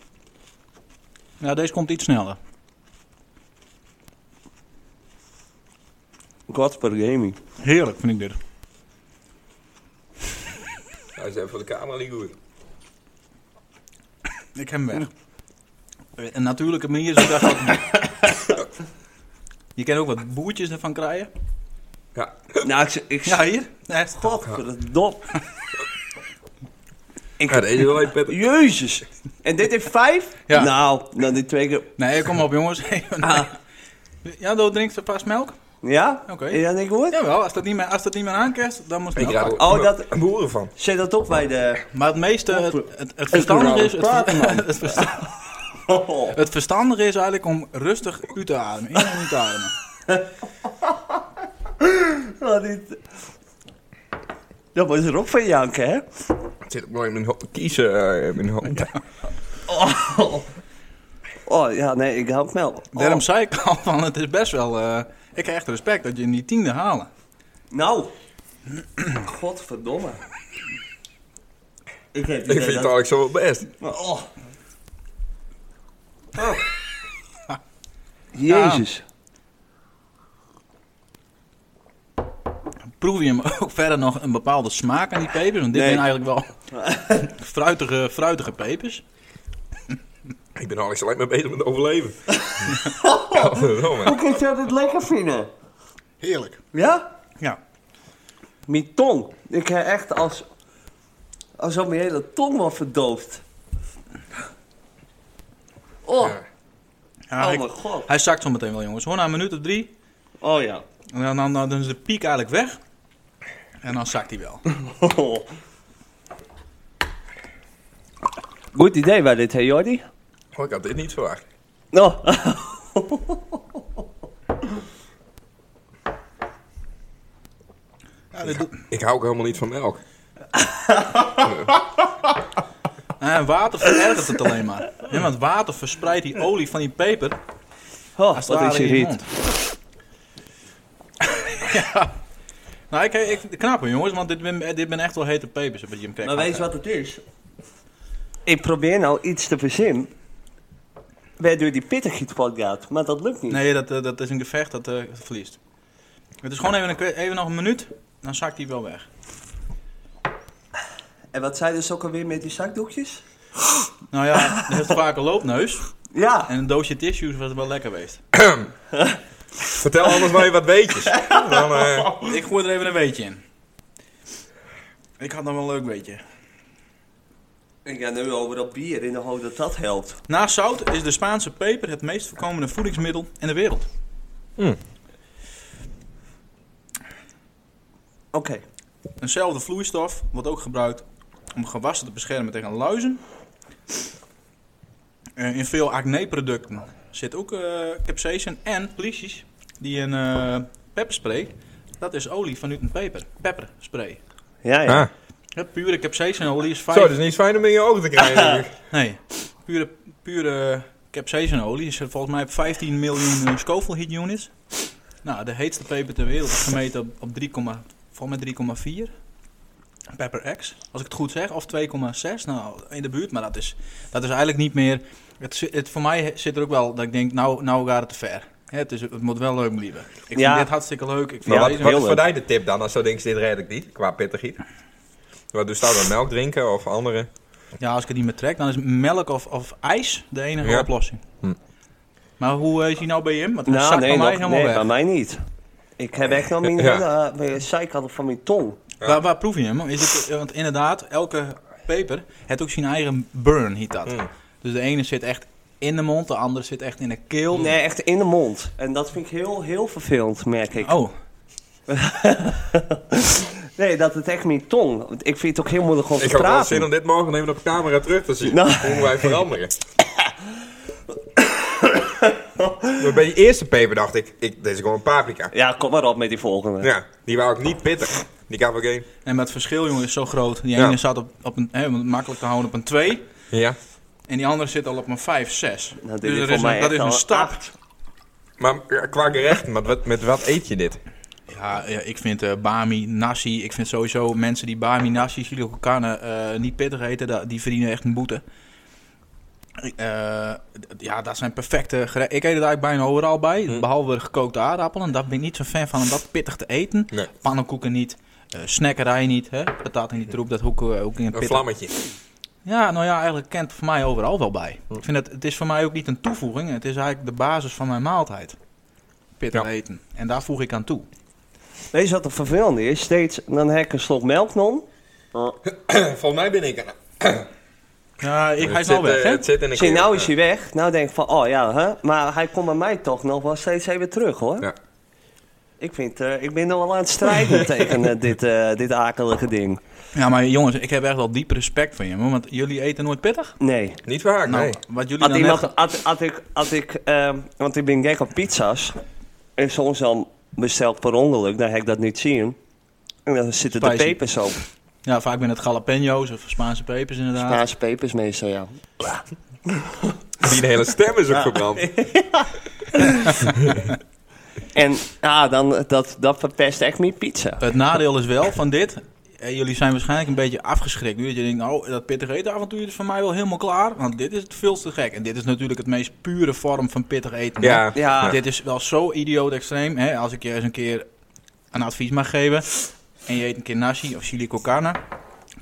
Speaker 3: Ja, deze komt iets sneller.
Speaker 1: Godspur Gaming.
Speaker 3: Heerlijk vind ik dit.
Speaker 2: Hij is even Nou, voor de camera niet goed.
Speaker 3: Ik heb hem weg. Eh, Een natuurlijke manier is ook echt wat... Je kan ook wat boertjes ervan krijgen.
Speaker 2: Ja.
Speaker 1: Nou, ik... ik
Speaker 3: Ja, hier. Echt.
Speaker 1: Godverdomme.
Speaker 2: Ja, deze is wel even pittig.
Speaker 1: Jezus. En dit heeft vijf?
Speaker 3: Ja.
Speaker 1: Nou, dan die twee keer...
Speaker 3: Nee, kom op jongens. Even-
Speaker 1: Ah.
Speaker 3: Ja, dat drinkt een paar melk.
Speaker 1: Ja?
Speaker 3: Oké.
Speaker 1: Is dat niet goed?
Speaker 3: Jawel, als dat niet meer, als dat niet meer aankerst, dan moet
Speaker 2: Ik
Speaker 3: het
Speaker 2: raak
Speaker 3: wel.
Speaker 2: ook
Speaker 1: Oh, dat-
Speaker 2: een boeren van.
Speaker 1: Zet dat op bij de...
Speaker 3: Maar het meeste, het, het, het verstandige is... Het, het, versta- het verstandige is eigenlijk om rustig u te ademen. In en uit te ademen.
Speaker 1: Wat is... Oh, Dat was er ook van janken, hè?
Speaker 2: Het zit ook mooi in mijn ho- kiezen. eh, in mijn hand.
Speaker 1: Oh, ja, nee, ik hou ook melk. Oh.
Speaker 3: Daarom zei ik al van, het is best wel... eh, ik krijg echt respect dat je in die tiende halen.
Speaker 1: Nou. Godverdomme. Ik heb het
Speaker 2: Ik vind
Speaker 1: idee
Speaker 2: het
Speaker 1: dat...
Speaker 2: eigenlijk zo wel best.
Speaker 1: Oh. Jezus.
Speaker 3: Proef je hem ook verder nog een bepaalde smaak aan die pepers? Want dit
Speaker 1: Nee.
Speaker 3: zijn eigenlijk wel fruitige, fruitige pepers.
Speaker 2: Ik ben Alex alleen maar bezig met overleven. Godverdomme.
Speaker 1: Hoe kun je dit lekker vinden?
Speaker 3: Heerlijk.
Speaker 1: Ja?
Speaker 3: Ja.
Speaker 1: Mijn tong. Ik heb echt als... Alsof mijn hele tong was verdoofd. Oh,
Speaker 2: Ja.
Speaker 3: Ja,
Speaker 1: oh
Speaker 3: hij-
Speaker 1: mijn god.
Speaker 3: Hij zakt zo meteen wel, jongens. Hoor, na een minuut of drie.
Speaker 1: Oh ja.
Speaker 3: En dan, dan, dan is de piek eigenlijk weg. En dan zakt hij wel.
Speaker 1: Goed idee bij dit, hè Jordi?
Speaker 2: Oh, ik had dit niet verwacht.
Speaker 1: Oh.
Speaker 3: Ja, dit doet-
Speaker 2: Ik hou ook helemaal niet van melk.
Speaker 3: en water verergert het alleen maar. Ja, want water verspreidt die olie van die peper.
Speaker 1: Oh,
Speaker 3: Als
Speaker 1: wat
Speaker 3: het
Speaker 1: is
Speaker 3: ware
Speaker 1: hier
Speaker 3: in je
Speaker 1: niet?
Speaker 3: mond. ja. Nou, ik, ik knap hem, jongens. Want dit, ben- dit ben echt wel hete pepers. Wat je hem krijgt.
Speaker 1: Maar weet je wat het is? Ik probeer nou iets te verzinnen. Waardoor die pittig gaat, maar dat lukt niet.
Speaker 3: Nee, dat, eh, dat is een gevecht dat eh, verliest. Het is gewoon even, een, kwe- even nog een minuut. Dan zakt hij wel weg.
Speaker 1: En wat zei dus ook alweer met die zakdoekjes?
Speaker 3: Nou ja, hij heeft vaak een loopneus.
Speaker 1: Ja,
Speaker 3: En een doosje tissues was wel lekker geweest.
Speaker 2: Vertel anders maar even wat weetjes. Dan, eh,
Speaker 3: Ik gooi er even een weetje in. Ik had nog wel een leuk weetje.
Speaker 1: ik ga nu over dat bier in de hoop dat dat helpt.
Speaker 3: Na zout is de Spaanse peper het meest voorkomende voedingsmiddel in de wereld.
Speaker 1: Oké.
Speaker 3: Eenzelfde vloeistof wordt ook gebruikt om gewassen te beschermen tegen luizen. Eh, in veel acne-producten zit ook eh capsaicin en pliesjes die een eh pepperspray. Dat is olie vanuit een peper. Pepperspray.
Speaker 1: Ja, ja.
Speaker 2: ah.
Speaker 3: Ja, pure capsaicinolie is
Speaker 2: Zo,
Speaker 3: fijn.
Speaker 2: dat is niet fijn om in je ogen te krijgen.
Speaker 3: Nee, pure, pure capsaicinolie is er volgens mij op 15 miljoen eh, Scoville heat units. Nou, de heetste peper ter wereld is gemeten op, op 3, volgens mij 3,4. Pepper X, als ik het goed zeg, of 2,6. Nou, in de buurt, maar dat is, dat is eigenlijk niet meer... Het, zi- het, voor mij zit er ook wel dat ik denk, nou, nou gaat het te ver. Hè, het, is, het moet wel leuk blijven. Ik
Speaker 1: Ja.
Speaker 3: vind dit hartstikke leuk. Ik vind
Speaker 2: Maar
Speaker 1: Ja,
Speaker 2: wat,
Speaker 3: deze-
Speaker 2: wat is
Speaker 1: leuk.
Speaker 2: voor jou de tip dan? Als zo denkt, dit red ik niet, qua pittigheid. Wat doe je daar dan? Melk drinken of andere?
Speaker 3: Ja, als ik het niet meer trek, dan is melk of, of ijs de enige
Speaker 2: Ja.
Speaker 3: oplossing.
Speaker 2: Hm.
Speaker 3: Maar hoe eh, is hij nou bij hem? Want hij
Speaker 1: Nou,
Speaker 3: zakt
Speaker 1: nee,
Speaker 3: bij mij
Speaker 1: nog-
Speaker 3: helemaal
Speaker 1: nee
Speaker 3: weg.
Speaker 1: bij mij niet. Ik heb echt nog mijn
Speaker 2: Ja.
Speaker 1: hele eh, zijkant van mijn tong.
Speaker 3: Waar, waar proef je hem? Is het, eh, want inderdaad, elke peper heeft ook zijn eigen burn, heet dat.
Speaker 2: Hm.
Speaker 3: Dus de ene zit echt in de mond, de andere zit echt in de
Speaker 2: Hm.
Speaker 3: keel.
Speaker 1: Nee, echt in de mond. En dat vind ik heel, heel vervelend, merk ik.
Speaker 3: Oh,
Speaker 1: Nee, dat het echt mijn tong. want Ik vind het ook heel moeilijk om te
Speaker 2: Ik had wel zin
Speaker 1: praten.
Speaker 2: om dit morgen even op camera terug dus te zien.
Speaker 1: Nou.
Speaker 2: Hoe wij veranderen. Maar bij die eerste peper dacht ik, ik dit is gewoon paprika.
Speaker 1: Ja, kom maar op met die volgende.
Speaker 2: Ja, die wou ik niet pittig. Die gaf ik één.
Speaker 3: en maar het verschil, jongen, is zo groot. Die
Speaker 2: Ja.
Speaker 3: ene zat op, op een, hè, om het makkelijk te houden, op een 2.
Speaker 2: Ja.
Speaker 3: En die andere zit al op een 5, 6.
Speaker 1: Nou, dit
Speaker 3: dus
Speaker 1: is
Speaker 3: er
Speaker 1: voor
Speaker 3: is
Speaker 1: mij
Speaker 3: een, dat
Speaker 1: echt
Speaker 3: is
Speaker 1: al
Speaker 3: een
Speaker 1: een
Speaker 3: stap.
Speaker 1: acht.
Speaker 2: Maar ja, qua gerechten, met wat, met wat eet je dit?
Speaker 3: Ja, ja, ik vind eh, Bami, Nasi, ik vind sowieso mensen die Bami, Nasi, Chili con carne eh, niet pittig eten, da- die verdienen echt een boete. Eh, d- ja, dat zijn perfecte gerechten. Ik eet het eigenlijk bijna overal bij,
Speaker 2: Hm.
Speaker 3: behalve gekookte aardappelen. Daar ben ik niet zo fan van om dat pittig te eten.
Speaker 2: Nee.
Speaker 3: Pannenkoeken niet, eh, snackerij niet, hè? patat in die troep, dat hoek eh, ook in een
Speaker 2: Een
Speaker 3: pittig.
Speaker 2: vlammetje.
Speaker 3: Ja, nou ja, eigenlijk kent voor mij overal wel bij.
Speaker 2: Hm.
Speaker 3: Ik vind het, het is voor mij ook niet een toevoeging, het is eigenlijk de basis van mijn maaltijd. Pittig
Speaker 2: Ja.
Speaker 3: eten. En daar voeg ik aan toe.
Speaker 1: Weet je wat het vervelende is? Steeds, dan heb ik een slok melk non.
Speaker 2: Volgens mij ben ik er.
Speaker 3: Ja, ik, hij
Speaker 2: Het
Speaker 3: is al
Speaker 2: zit,
Speaker 3: weg,
Speaker 2: eh,
Speaker 3: hè?
Speaker 2: het zit in een
Speaker 1: Zie,
Speaker 2: keel.
Speaker 1: nou is hij weg. Nou denk ik van, oh ja, hè? maar hij komt bij mij toch nog wel steeds even terug, hoor.
Speaker 2: Ja.
Speaker 1: Ik, vind, eh, ik ben nog wel aan het strijden tegen eh, dit, eh, dit akelige ding.
Speaker 3: Ja, maar jongens, ik heb echt wel diep respect voor je, want jullie eten nooit pittig.
Speaker 1: Nee.
Speaker 2: Niet waar,
Speaker 3: Nou,
Speaker 2: nee.
Speaker 3: wat jullie
Speaker 1: Had,
Speaker 3: dan
Speaker 1: iemand,
Speaker 3: echt-
Speaker 1: had, had ik, had ik ehm, want ik ben gek op pizza's. En soms dan bestel ik per ongeluk, dan heb ik dat niet zien. En dan zitten de
Speaker 3: Spicy.
Speaker 1: pepers op.
Speaker 3: Ja, vaak ben het jalapeno's of Spaanse pepers inderdaad.
Speaker 1: Spaanse pepers meestal, ja.
Speaker 2: Die hele stem is ook verbrand.
Speaker 1: En ja, ah, dan, dat, dat verpest echt mijn pizza.
Speaker 3: Het nadeel is wel van dit, eh, jullie zijn waarschijnlijk een beetje afgeschrikt nu. Dat je denkt, nou, dat pittig eten avontuur is voor mij wel helemaal klaar. Want dit is het veel te gek. En dit is natuurlijk het meest pure vorm van pittig eten. hè?
Speaker 2: Ja.
Speaker 1: Ja.
Speaker 3: Dit is wel zo idioot extreem. Hè? Als ik je eens een keer een advies mag geven. En je eet een keer nasi of chili con carne.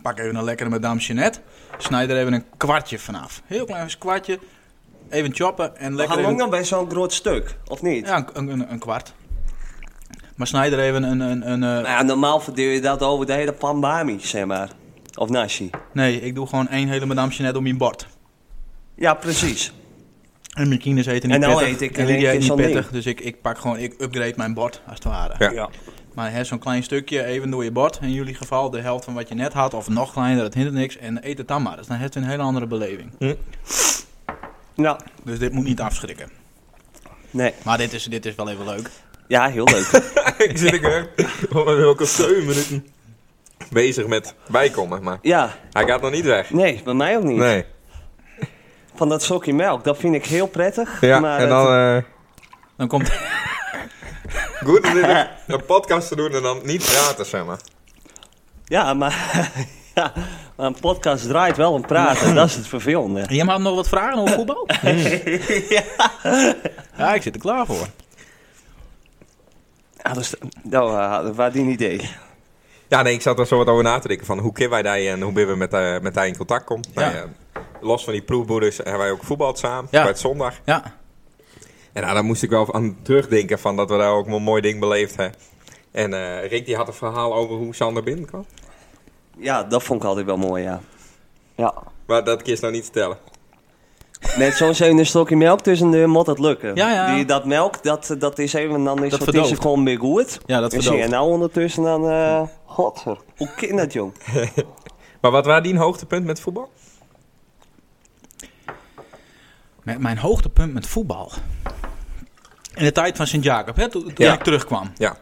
Speaker 3: Pak even een lekkere madame Jeanette. Snijd er even een kwartje vanaf. Heel klein kwartje. Even choppen en lekker...
Speaker 1: Hoe
Speaker 3: even-
Speaker 1: lang dan bij zo'n groot stuk, of niet?
Speaker 3: Ja, een, een, een kwart. Maar snijd er even een... een, een eh,
Speaker 1: Nou ja, normaal verdeel je dat over de hele pandami, zeg maar. Of nashi.
Speaker 3: Nee, ik doe gewoon één hele madame Jeanette om je bord.
Speaker 1: Ja, precies.
Speaker 3: En mijn kines eten niet
Speaker 1: En nou
Speaker 3: pittig.
Speaker 1: eet ik
Speaker 3: en
Speaker 1: in één
Speaker 3: Lydia
Speaker 1: keer
Speaker 3: eet niet
Speaker 1: zo'n
Speaker 3: pittig.
Speaker 1: ding.
Speaker 3: Dus ik, ik pak gewoon, ik upgrade mijn bord, als het ware.
Speaker 2: Ja.
Speaker 1: Ja.
Speaker 3: Maar hè, zo'n klein stukje, even door je bord. In jullie geval de helft van wat je net had, of nog kleiner, dat hindert niks. En eet het dan maar. Dus dan heeft het een hele andere beleving.
Speaker 2: Hm.
Speaker 1: Nou,
Speaker 3: Dus dit moet niet afschrikken.
Speaker 1: nee.
Speaker 3: Maar dit is, dit is wel even leuk.
Speaker 1: Ja, heel leuk.
Speaker 2: ik zit ik ook al zeven minuten bezig met bijkomen, maar
Speaker 1: ja,
Speaker 2: hij gaat nog niet weg.
Speaker 1: nee, bij mij ook niet.
Speaker 2: Nee.
Speaker 1: Van dat sokje melk, dat vind ik heel prettig.
Speaker 2: Ja,
Speaker 1: maar
Speaker 2: en
Speaker 1: het-
Speaker 2: dan... eh,
Speaker 3: Dan komt,
Speaker 2: goed is dit een podcast te doen en dan niet praten, zeg maar.
Speaker 1: ja, maar, ja, maar een podcast draait wel om praten. dat is het vervelende.
Speaker 3: je had nog wat vragen over voetbal? ja, ik zit er klaar voor.
Speaker 1: Ja, dus, nou, eh, dat was een idee.
Speaker 2: Ja, nee, ik zat er zo wat over na te denken van hoe kennen wij die en hoe ben we met, eh met die in contact komt. Nou
Speaker 3: Ja.
Speaker 2: ja, los van die proefboerders hebben wij ook voetbald samen,
Speaker 3: Ja.
Speaker 2: bij het zondag.
Speaker 3: Ja,
Speaker 2: En nou, daar moest ik wel aan terugdenken van dat we daar ook een mooi ding beleefd hebben. En eh, Rick die had een verhaal over hoe Sander binnenkwam.
Speaker 1: Ja, dat vond ik altijd wel mooi, ja. Ja.
Speaker 2: Maar dat kies nou niet vertellen.
Speaker 1: Met zo'n zeun een stokje melk tussen de moet dat lukken.
Speaker 3: Ja, ja.
Speaker 1: Die, dat melk, dat, dat is even, dan is
Speaker 3: Dat
Speaker 1: dat is
Speaker 3: verdooft.
Speaker 1: het gewoon weer goed.
Speaker 3: Ja, dat
Speaker 1: En zie je
Speaker 3: verdooft.
Speaker 1: nou ondertussen dan, eh godver, hoe kind dat jong?
Speaker 2: Maar wat waren die een hoogtepunt met voetbal?
Speaker 3: met mijn hoogtepunt met voetbal. In de tijd van Sint-Jacob, hè, toen, toen
Speaker 2: Ja.
Speaker 3: ik terugkwam.
Speaker 2: Ja.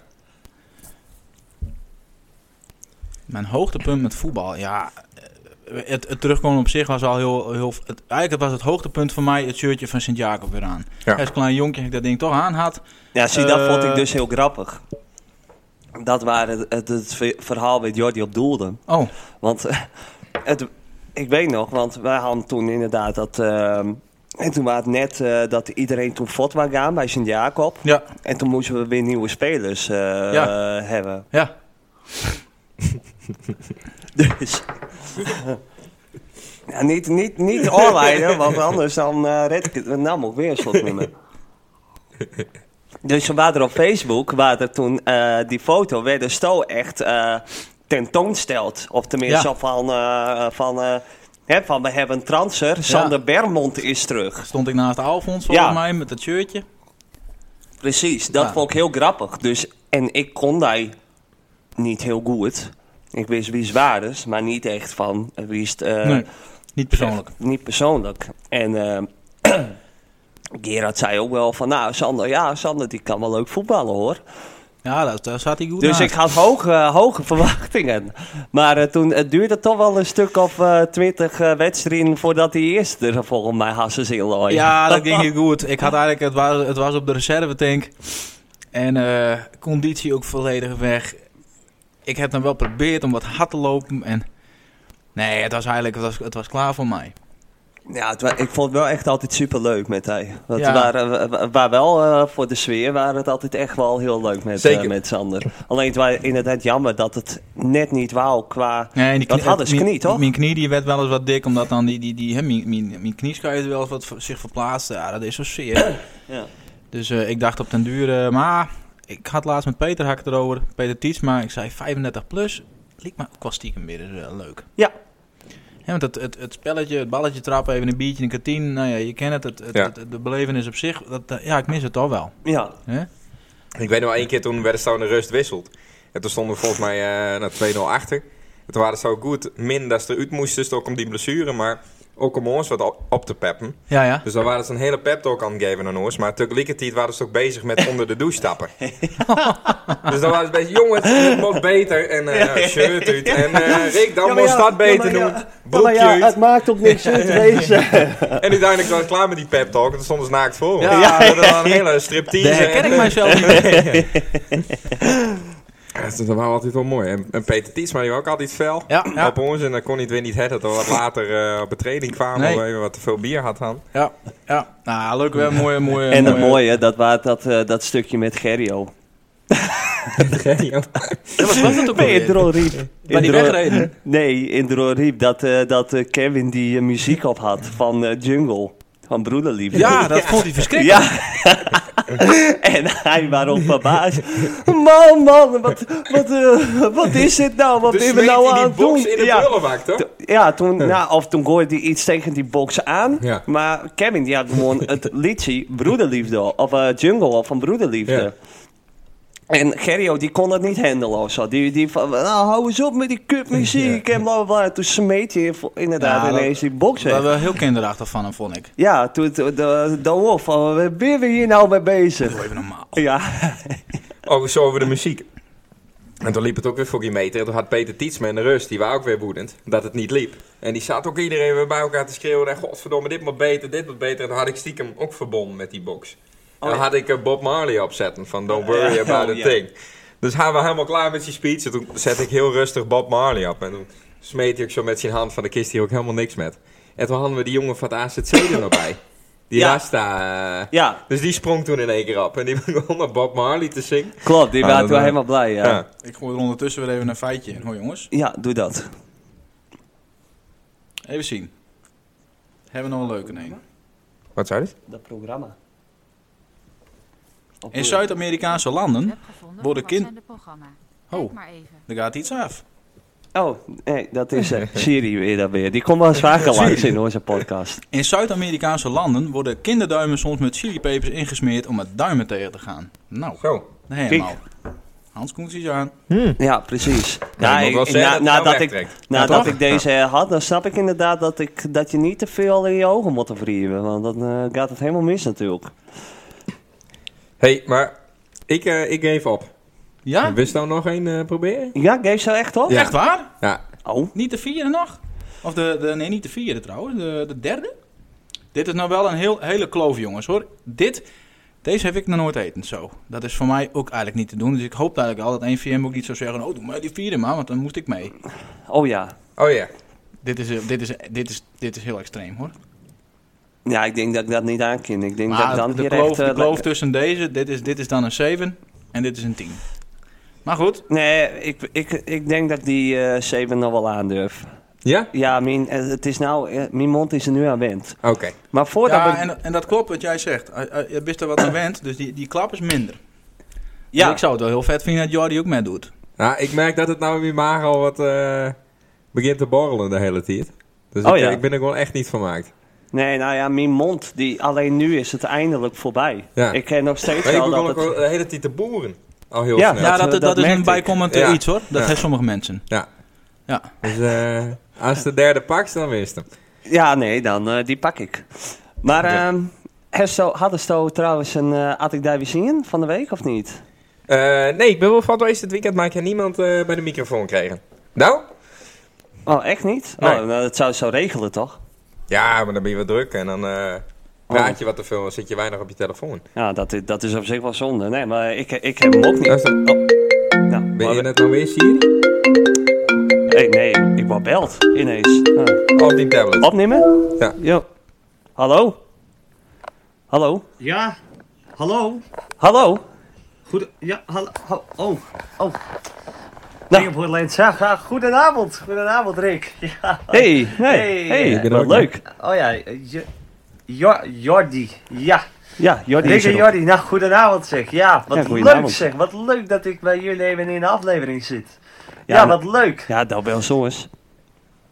Speaker 3: Mijn hoogtepunt met voetbal, ja. eh, Het, het terugkomen op zich was al heel... heel het, eigenlijk was het hoogtepunt voor mij het shirtje van Sint-Jacob weer aan.
Speaker 2: Ja.
Speaker 3: Als klein jonkje dat ik dat ding toch aan had.
Speaker 1: Ja, zie, dat
Speaker 3: Eh.
Speaker 1: vond ik dus heel grappig. Dat waren het, het, het ve- verhaal met Jordi op Doelden.
Speaker 3: Oh,
Speaker 1: Want eh, het, ik weet nog, want wij hadden toen inderdaad dat... ehm, en toen was het net eh, dat iedereen toen fot was gaan bij Sint-Jacob.
Speaker 3: ja,
Speaker 1: En toen moesten we weer nieuwe spelers eh,
Speaker 3: Ja.
Speaker 1: eh, hebben.
Speaker 3: ja.
Speaker 1: Dus. ja, niet, niet, niet oorlijnen, want anders dan eh, red ik het. Nou, moet ik weer een slotnummer. Dus we waren er op Facebook, waren er toen eh, die foto, werden Sto echt eh tentoonsteld. Of tenminste
Speaker 3: Ja.
Speaker 1: van, eh, van, eh, hè, van we hebben een transfer, Sander Bermond is terug.
Speaker 3: Stond ik naast Alfons volgens
Speaker 1: Ja.
Speaker 3: mij met dat shirtje.
Speaker 1: Precies, dat
Speaker 3: Ja.
Speaker 1: vond ik heel grappig. Dus, en ik kon daar niet heel goed. Ik wist wie zwaar is, maar niet echt van eh, wie is het, eh,
Speaker 3: nee, niet persoonlijk.
Speaker 1: Echt Niet persoonlijk. En ehm Gerard zei ook wel van, nou Sander, ja Sander die kan wel leuk voetballen hoor.
Speaker 3: Ja, dat, daar zat hij goed
Speaker 1: Dus
Speaker 3: naast.
Speaker 1: ik had hoge, hoge verwachtingen. Maar eh, toen, het duurde toch wel een stuk of eh, twintig wedstrijden voordat hij eerst er volgens mij hassen in looien.
Speaker 3: Ja, dat ging heel goed. Ik had eigenlijk, het was, het was op de reserve tank. En eh, conditie ook volledig weg. Ik heb dan wel geprobeerd om wat hard te lopen. En nee, het was eigenlijk, het was, het was klaar voor mij.
Speaker 1: Ja, het wa- ik vond het wel echt altijd super leuk met hij. Want
Speaker 3: Ja.
Speaker 1: waar, wa- wa- waar wel eh, voor de sfeer waren het altijd echt wel heel leuk met,
Speaker 2: Zeker.
Speaker 1: eh, met Sander. Alleen het was inderdaad jammer dat het net niet wou qua...
Speaker 3: Nee, en die
Speaker 1: Dat hadden ze
Speaker 3: mijn-
Speaker 1: knie, toch?
Speaker 3: Mijn knie die werd wel eens wat dik, omdat dan die, die, die, hè, mijn, mijn, mijn knieschijf wel eens wat ver- zich verplaatste. Ja, dat is zo zeer.
Speaker 1: Ja.
Speaker 3: Dus eh, ik dacht op den duur, eh, maar ik had laatst met Peter Hak erover, Peter Tietz, maar ik zei 35 plus. Liep me ook wel stiekem weer eens, eh, leuk.
Speaker 1: Ja.
Speaker 3: Ja, want het, het, het spelletje, het balletje trappen, even een biertje in de kantine, nou ja, je kent het, het, het,
Speaker 2: Ja.
Speaker 3: het- de belevenis op zich, dat, eh, ja, ik mis het toch wel.
Speaker 1: Ja,
Speaker 3: Hè?
Speaker 2: Ik weet nog wel één keer toen werd het zo in de rust wisseld. En toen stonden we volgens mij eh, naar 2-0 achter. En toen waren ze zo goed, min dat ze eruit moesten, dus ook om die blessure, maar ook om ons wat op- op te peppen.
Speaker 3: Ja, ja.
Speaker 2: Dus dan waren ze een hele pep talk aan het geven aan ons. Maar tegelijkertijd waren ze ook bezig met onder de douche stappen. dus dan waren ze bezig, jongens, het moet beter. En eh, nou, shirt uit. En eh, Rick, dan
Speaker 1: Ja, maar
Speaker 2: moest
Speaker 1: ja,
Speaker 2: dat
Speaker 1: ja, maar
Speaker 2: beter
Speaker 1: ja. Ja,
Speaker 2: doen.
Speaker 1: maar
Speaker 2: Broekje
Speaker 1: ja,
Speaker 2: uit.
Speaker 1: het maakt ook niks uit wezen.
Speaker 2: En uiteindelijk was het klaar met die pep talk. En toen stonden ze naakt voor. Ja,
Speaker 3: Ja.
Speaker 2: dat was een hele striptease. eh,
Speaker 3: Daar herken
Speaker 2: en,
Speaker 3: ik
Speaker 2: eh,
Speaker 3: mijzelf niet.
Speaker 2: ja, dat is- dat was altijd wel mooi. En, en Peter Tiesma, die was ook altijd fel
Speaker 3: Ja, ja.
Speaker 2: op ons. En dan kon hij het weer niet hebben dat we wat later eh, op de training kwamen.
Speaker 3: Nee.
Speaker 2: Omdat we wat te veel bier had aan.
Speaker 3: Ja, ja. Nou, leuk weer. Mooie, mooie,
Speaker 1: En het mooie, dat was dat, eh, dat stukje met Gerrio.
Speaker 3: Dat was, was dat ook
Speaker 1: Nee,
Speaker 3: alweer?
Speaker 1: in Droriep.
Speaker 3: Bij die wegreden.
Speaker 1: Nee, in Droriep. Dat, eh, dat eh, Kevin die eh, muziek op had van eh, Jungle. Van Broederliefde.
Speaker 3: Ja, dat vond hij verschrikkelijk.
Speaker 1: Ja. en hij waarom verbaasd. Man, man, wat, wat, eh, wat is dit nou? Wat
Speaker 2: Dus
Speaker 1: ben je nou
Speaker 2: smeet hij
Speaker 1: aan
Speaker 2: die
Speaker 1: het
Speaker 2: box
Speaker 1: doen?
Speaker 2: in de
Speaker 1: ja.
Speaker 2: prullenbak, toch?
Speaker 1: T- Ja, toen, nou, of toen gooide hij iets tegen die box aan.
Speaker 2: Ja.
Speaker 1: Maar Kevin die had gewoon het liedje Broederliefde. Of eh, Jungle of van Broederliefde.
Speaker 2: Ja.
Speaker 1: En Gerrio die kon het niet handelen of zo. Die, die van, nou, hou eens op met die kutmuziek en bla bla bla. Toen smeet hij vo- inderdaad
Speaker 3: Ja, dat-
Speaker 1: ineens die box
Speaker 3: Daar
Speaker 1: weg.
Speaker 3: waren we heel kinderachtig van hem, vond ik.
Speaker 1: Ja, toen toen- de- de wolf oh, van, waar ben je hier nou mee bezig?
Speaker 3: Even normaal.
Speaker 1: Ja,
Speaker 2: Ook Oh, zo over de muziek. En toen liep het ook weer voor die meter. En toen had Peter Tietsma in de rust, die was ook weer woedend, dat het niet liep. En die zat ook iedereen weer bij elkaar te schreeuwen. En godverdomme, dit moet beter, dit moet beter. En toen had ik stiekem ook verbonden met die box. En dan had ik eh, Bob Marley opzetten van Don't Worry About a
Speaker 1: Oh, ja.
Speaker 2: Thing. Dus hij was helemaal klaar met zijn speech. En toen zette ik heel rustig Bob Marley op. En toen smeet hij ook zo met zijn hand van de kist hier ook helemaal niks met. En toen hadden we die jongen van het AZC er nog bij. Die
Speaker 1: Ja.
Speaker 2: Rasta. eh,
Speaker 1: ja
Speaker 2: Dus die sprong toen in één keer op. En die begon naar Bob Marley te zingen.
Speaker 1: klopt. Die
Speaker 2: Ah,
Speaker 1: waren
Speaker 2: dat,
Speaker 1: toen
Speaker 2: eh,
Speaker 1: helemaal blij. Ja. Ja.
Speaker 2: Ja.
Speaker 3: Ik gooi er ondertussen weer even een feitje in. Hoor jongens.
Speaker 1: doe dat.
Speaker 3: Even zien. Hebben we nog een leuke een.
Speaker 2: Wat zei dit?
Speaker 1: Dat programma. Op
Speaker 3: In Zuid-Amerikaanse landen,
Speaker 6: heb gevonden
Speaker 3: Worden
Speaker 6: voor
Speaker 3: kind-
Speaker 6: het programma.
Speaker 3: Oh.
Speaker 6: Kijk maar even.
Speaker 3: daar gaat iets af.
Speaker 1: Oh, nee, dat is eh, Siri weer dan weer. Die komt wel eens vaker langs in onze podcast.
Speaker 3: In Zuid-Amerikaanse landen worden kinderduimen soms met chilipepers ingesmeerd om het duimen tegen te gaan. Nou,
Speaker 2: Zo.
Speaker 3: helemaal. Hans Koens is aan.
Speaker 1: Ja, precies. Nou,
Speaker 2: Ja, ik moet wel
Speaker 1: ik-
Speaker 2: zeggen dat het jou
Speaker 1: nadat ik,
Speaker 2: wegtrekt.
Speaker 1: nadat
Speaker 3: toch?
Speaker 1: ik deze eh, had, dan snap ik inderdaad dat, ik, dat je niet te veel in je ogen moet wrijven. Want dan eh, gaat het helemaal mis natuurlijk.
Speaker 2: Hé, hey, maar ik, eh, ik geef op.
Speaker 3: Ja?
Speaker 1: Ah.
Speaker 2: Wist nou nog één eh, proberen?
Speaker 1: Ja, geef ze echt op?
Speaker 2: Ja.
Speaker 3: Echt waar?
Speaker 2: Ja.
Speaker 1: Oh,
Speaker 3: Niet de vierde nog? Of de, de nee, niet de vierde trouwens, de, de derde? Dit is nou wel een heel, hele kloof jongens hoor. Dit, deze heb ik nog nooit eten zo. Dat is voor mij ook eigenlijk niet te doen. Dus ik hoop eigenlijk al dat 1VM ook niet zou zeggen, oh doe maar die vierde maar, want dan moet ik mee.
Speaker 1: oh ja.
Speaker 2: Oh ja.
Speaker 3: Dit is, eh, dit is, dit is, dit is heel extreem hoor.
Speaker 1: Ja, ik denk dat ik dat niet aankin. Ik denk dat ik
Speaker 3: Maar
Speaker 1: dan
Speaker 3: de
Speaker 1: hier
Speaker 3: kloof,
Speaker 1: echt... eh,
Speaker 3: de kloof
Speaker 1: lekker-
Speaker 3: tussen deze, dit is, dit is dan een 7 en dit is een 10. Maar goed,
Speaker 1: Nee, ik, ik, ik denk dat ik die eh 7 nog wel aandurf.
Speaker 2: Ja?
Speaker 1: Ja, mijn, eh, het is nou, eh, mijn mond is er nu aan wend.
Speaker 2: Oké.
Speaker 1: Maar voordat
Speaker 3: ja,
Speaker 1: we-
Speaker 3: en, en dat klopt wat jij zegt. Hij- hij- Je bent er wat aan wend, dus die, die klap is minder.
Speaker 1: ja.
Speaker 3: Dus ik zou het wel heel vet vinden dat Jordi ook meedoet.
Speaker 2: Nou, ik merk dat het nou in mijn maag al wat eh, begint te borrelen de hele tijd. Dus
Speaker 1: Oh
Speaker 2: ik,
Speaker 1: ja.
Speaker 2: ik ben er gewoon echt niet van maakt.
Speaker 1: Nee, nou ja, mijn mond, die, alleen nu is het eindelijk voorbij.
Speaker 2: Ja.
Speaker 1: Ik ken nog steeds
Speaker 2: Maar ik
Speaker 1: wel
Speaker 2: begon
Speaker 1: dat
Speaker 2: ook
Speaker 1: het...
Speaker 2: wel de hele tijd te boeren. Al heel
Speaker 1: Ja.
Speaker 2: snel.
Speaker 3: Ja,
Speaker 1: Ja,
Speaker 2: Ja.
Speaker 3: dat,
Speaker 1: dat-
Speaker 3: dat,
Speaker 1: dat
Speaker 3: is
Speaker 1: merkte
Speaker 3: een
Speaker 1: ik.
Speaker 3: bijkomend eh,
Speaker 2: Ja.
Speaker 3: iets hoor. Dat
Speaker 2: Ja.
Speaker 3: hebben sommige mensen. Ja.
Speaker 2: Dus eh, als de derde pakt, dan wist hem.
Speaker 1: Ja, nee, dan eh, die pak ik. Maar
Speaker 2: Ja.
Speaker 1: ehm Hesto, hadden ze trouwens een eh had ik daar weer zien van de week of niet?
Speaker 2: Eh, nee, ik ben wel van geweest dit weekend, maar ik heb niemand eh, bij de microfoon kregen. Nou?
Speaker 1: Oh, echt niet?
Speaker 2: Nee.
Speaker 1: Oh, nou, dat zou zo regelen toch?
Speaker 2: Ja, maar dan ben je wat druk en dan
Speaker 1: Oh.
Speaker 2: eh, praat je wat te veel en zit je weinig op je telefoon.
Speaker 1: Ja, dat, i- dat is op zich wel zonde. Nee, maar ik, ik heb hem ook niet.
Speaker 2: Dat is dan-
Speaker 1: Nou,
Speaker 2: Eh, Ben
Speaker 1: maar-
Speaker 2: je net alweer, Siri?
Speaker 1: hey, nee, ik word belt ineens. Nou,
Speaker 2: Op die tablet?
Speaker 1: opnemen?
Speaker 2: Ja.
Speaker 1: Jo. Hallo? Hallo?
Speaker 7: Ja, hallo.
Speaker 1: Hallo?
Speaker 7: Goed, ja, hallo. Oh, oh.
Speaker 1: Nou.
Speaker 7: Nou. Op Hoorland Zag. Ah, goedenavond, goedenavond Rick. Ja.
Speaker 1: Hey, hey,
Speaker 7: Hey.
Speaker 1: hey,
Speaker 7: Ik
Speaker 2: ben er
Speaker 1: wat
Speaker 2: ook nog.
Speaker 1: leuk.
Speaker 7: Oh ja, eh, Jo- Jo- Jordi. Ja,
Speaker 1: Ja, Jordi
Speaker 7: Rick
Speaker 1: is
Speaker 7: en
Speaker 1: erop.
Speaker 7: Jordi. Nou, goedenavond zeg. Ja,
Speaker 1: Ja,
Speaker 7: wat leuk
Speaker 1: goedenavond.
Speaker 7: zeg. Wat leuk dat ik bij jullie even in de aflevering zit.
Speaker 1: Ja,
Speaker 7: Ja,
Speaker 1: maar-
Speaker 7: wat leuk.
Speaker 1: Ja, dat wel zo eens.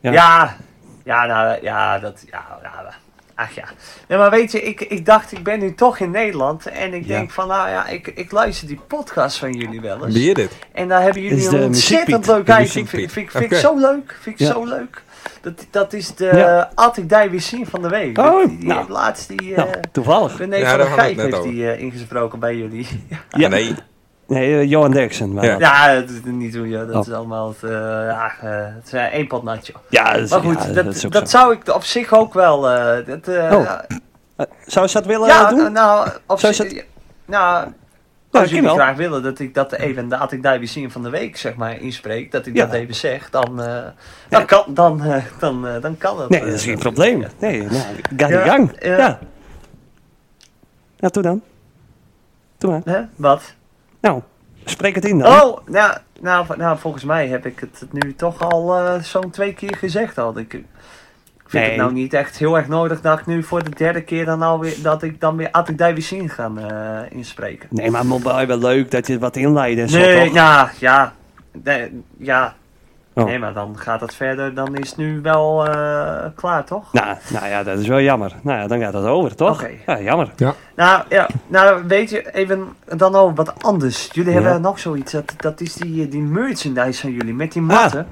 Speaker 1: Ja.
Speaker 7: Ja. ja, nou, ja, dat, ja, ja, ach ja. Nee, maar weet je, ik, ik dacht, ik ben nu toch in Nederland. En ik
Speaker 1: Ja.
Speaker 7: denk van, nou ja, ik, ik luister die podcast van jullie wel eens.
Speaker 2: Wie is dit?
Speaker 7: En daar hebben
Speaker 1: Dit
Speaker 7: jullie
Speaker 1: is
Speaker 7: een
Speaker 1: de
Speaker 7: ontzettend
Speaker 1: muziekpiet.
Speaker 7: leuk
Speaker 2: De
Speaker 7: item. Vind,
Speaker 2: muziekpiet.
Speaker 7: vind, vind, ik
Speaker 2: Oké.
Speaker 7: zo leuk. Vind ik
Speaker 1: Ja.
Speaker 7: zo leuk. Dat, dat is de
Speaker 1: Ja.
Speaker 7: uh, Altijd Dij Weer Zien van de Week.
Speaker 1: Oh,
Speaker 7: die, die
Speaker 1: nou.
Speaker 7: heeft laatst die... eh
Speaker 1: Nou, toevallig.
Speaker 7: René
Speaker 2: Ja, daar
Speaker 7: van der
Speaker 2: hadden we
Speaker 7: Gijp
Speaker 2: het net
Speaker 7: heeft die eh, ingesproken bij jullie.
Speaker 1: Ja.
Speaker 2: Nee.
Speaker 1: Nee, eh, Johan Derksen. waren
Speaker 2: Ja.
Speaker 1: dat.
Speaker 7: Ja, dat is niet hoe je. Dat
Speaker 1: Oh.
Speaker 7: is allemaal... Het, eh, ja, eh, het is eh, één pot natje.
Speaker 1: Ja, dat is-
Speaker 7: Maar goed,
Speaker 1: ja,
Speaker 7: dat,
Speaker 1: is ook
Speaker 7: dat
Speaker 1: zo.
Speaker 7: zou ik op zich ook wel... eh, dat, eh,
Speaker 1: Oh, Zou ze dat willen
Speaker 7: ja,
Speaker 1: eh, doen?
Speaker 7: nou... Op
Speaker 1: Zou
Speaker 7: zich-
Speaker 1: je
Speaker 7: Nou... als jullie
Speaker 1: Oh, dankjewel.
Speaker 7: graag willen dat ik dat even, dat ik daar weer zien van de week, zeg maar, inspreek, dat ik
Speaker 1: Ja.
Speaker 7: dat even zeg, dan, eh, dan, kan, dan, eh, dan, eh, dan kan dat.
Speaker 1: Nee,
Speaker 7: eh,
Speaker 1: dat is geen probleem. Nee, nou, ga die
Speaker 7: Ja,
Speaker 1: gang.
Speaker 7: ja.
Speaker 1: Ja. Nou, doe dan. Doe maar.
Speaker 7: Hè? Wat?
Speaker 1: Nou, spreek het in dan.
Speaker 7: Oh, nou, nou, nou, volgens mij heb ik het nu toch al eh, zo'n twee keer gezegd al. Ik, ik vind
Speaker 1: Nee.
Speaker 7: het nou niet echt heel erg nodig dat ik nu voor de derde keer dan alweer, dat ik dan weer Attic Davisin ga eh, inspreken.
Speaker 1: Nee, maar mobile wel leuk dat je wat inleidt en zo,
Speaker 7: Nee,
Speaker 1: toch?
Speaker 7: ja, ja. Nee, ja.
Speaker 1: Oh.
Speaker 7: Nee, maar dan gaat dat verder. Dan is het nu wel eh, klaar, toch?
Speaker 1: Nou, nou ja, dat is wel jammer. Nou ja, dan gaat dat over, toch?
Speaker 7: Oké.
Speaker 1: Ja, jammer.
Speaker 7: Nou, ja. Nou, weet je, even dan al wat anders. Jullie
Speaker 1: Ja.
Speaker 7: hebben nog zoiets. Dat, dat is die, eh, die merchandise van jullie met die matten.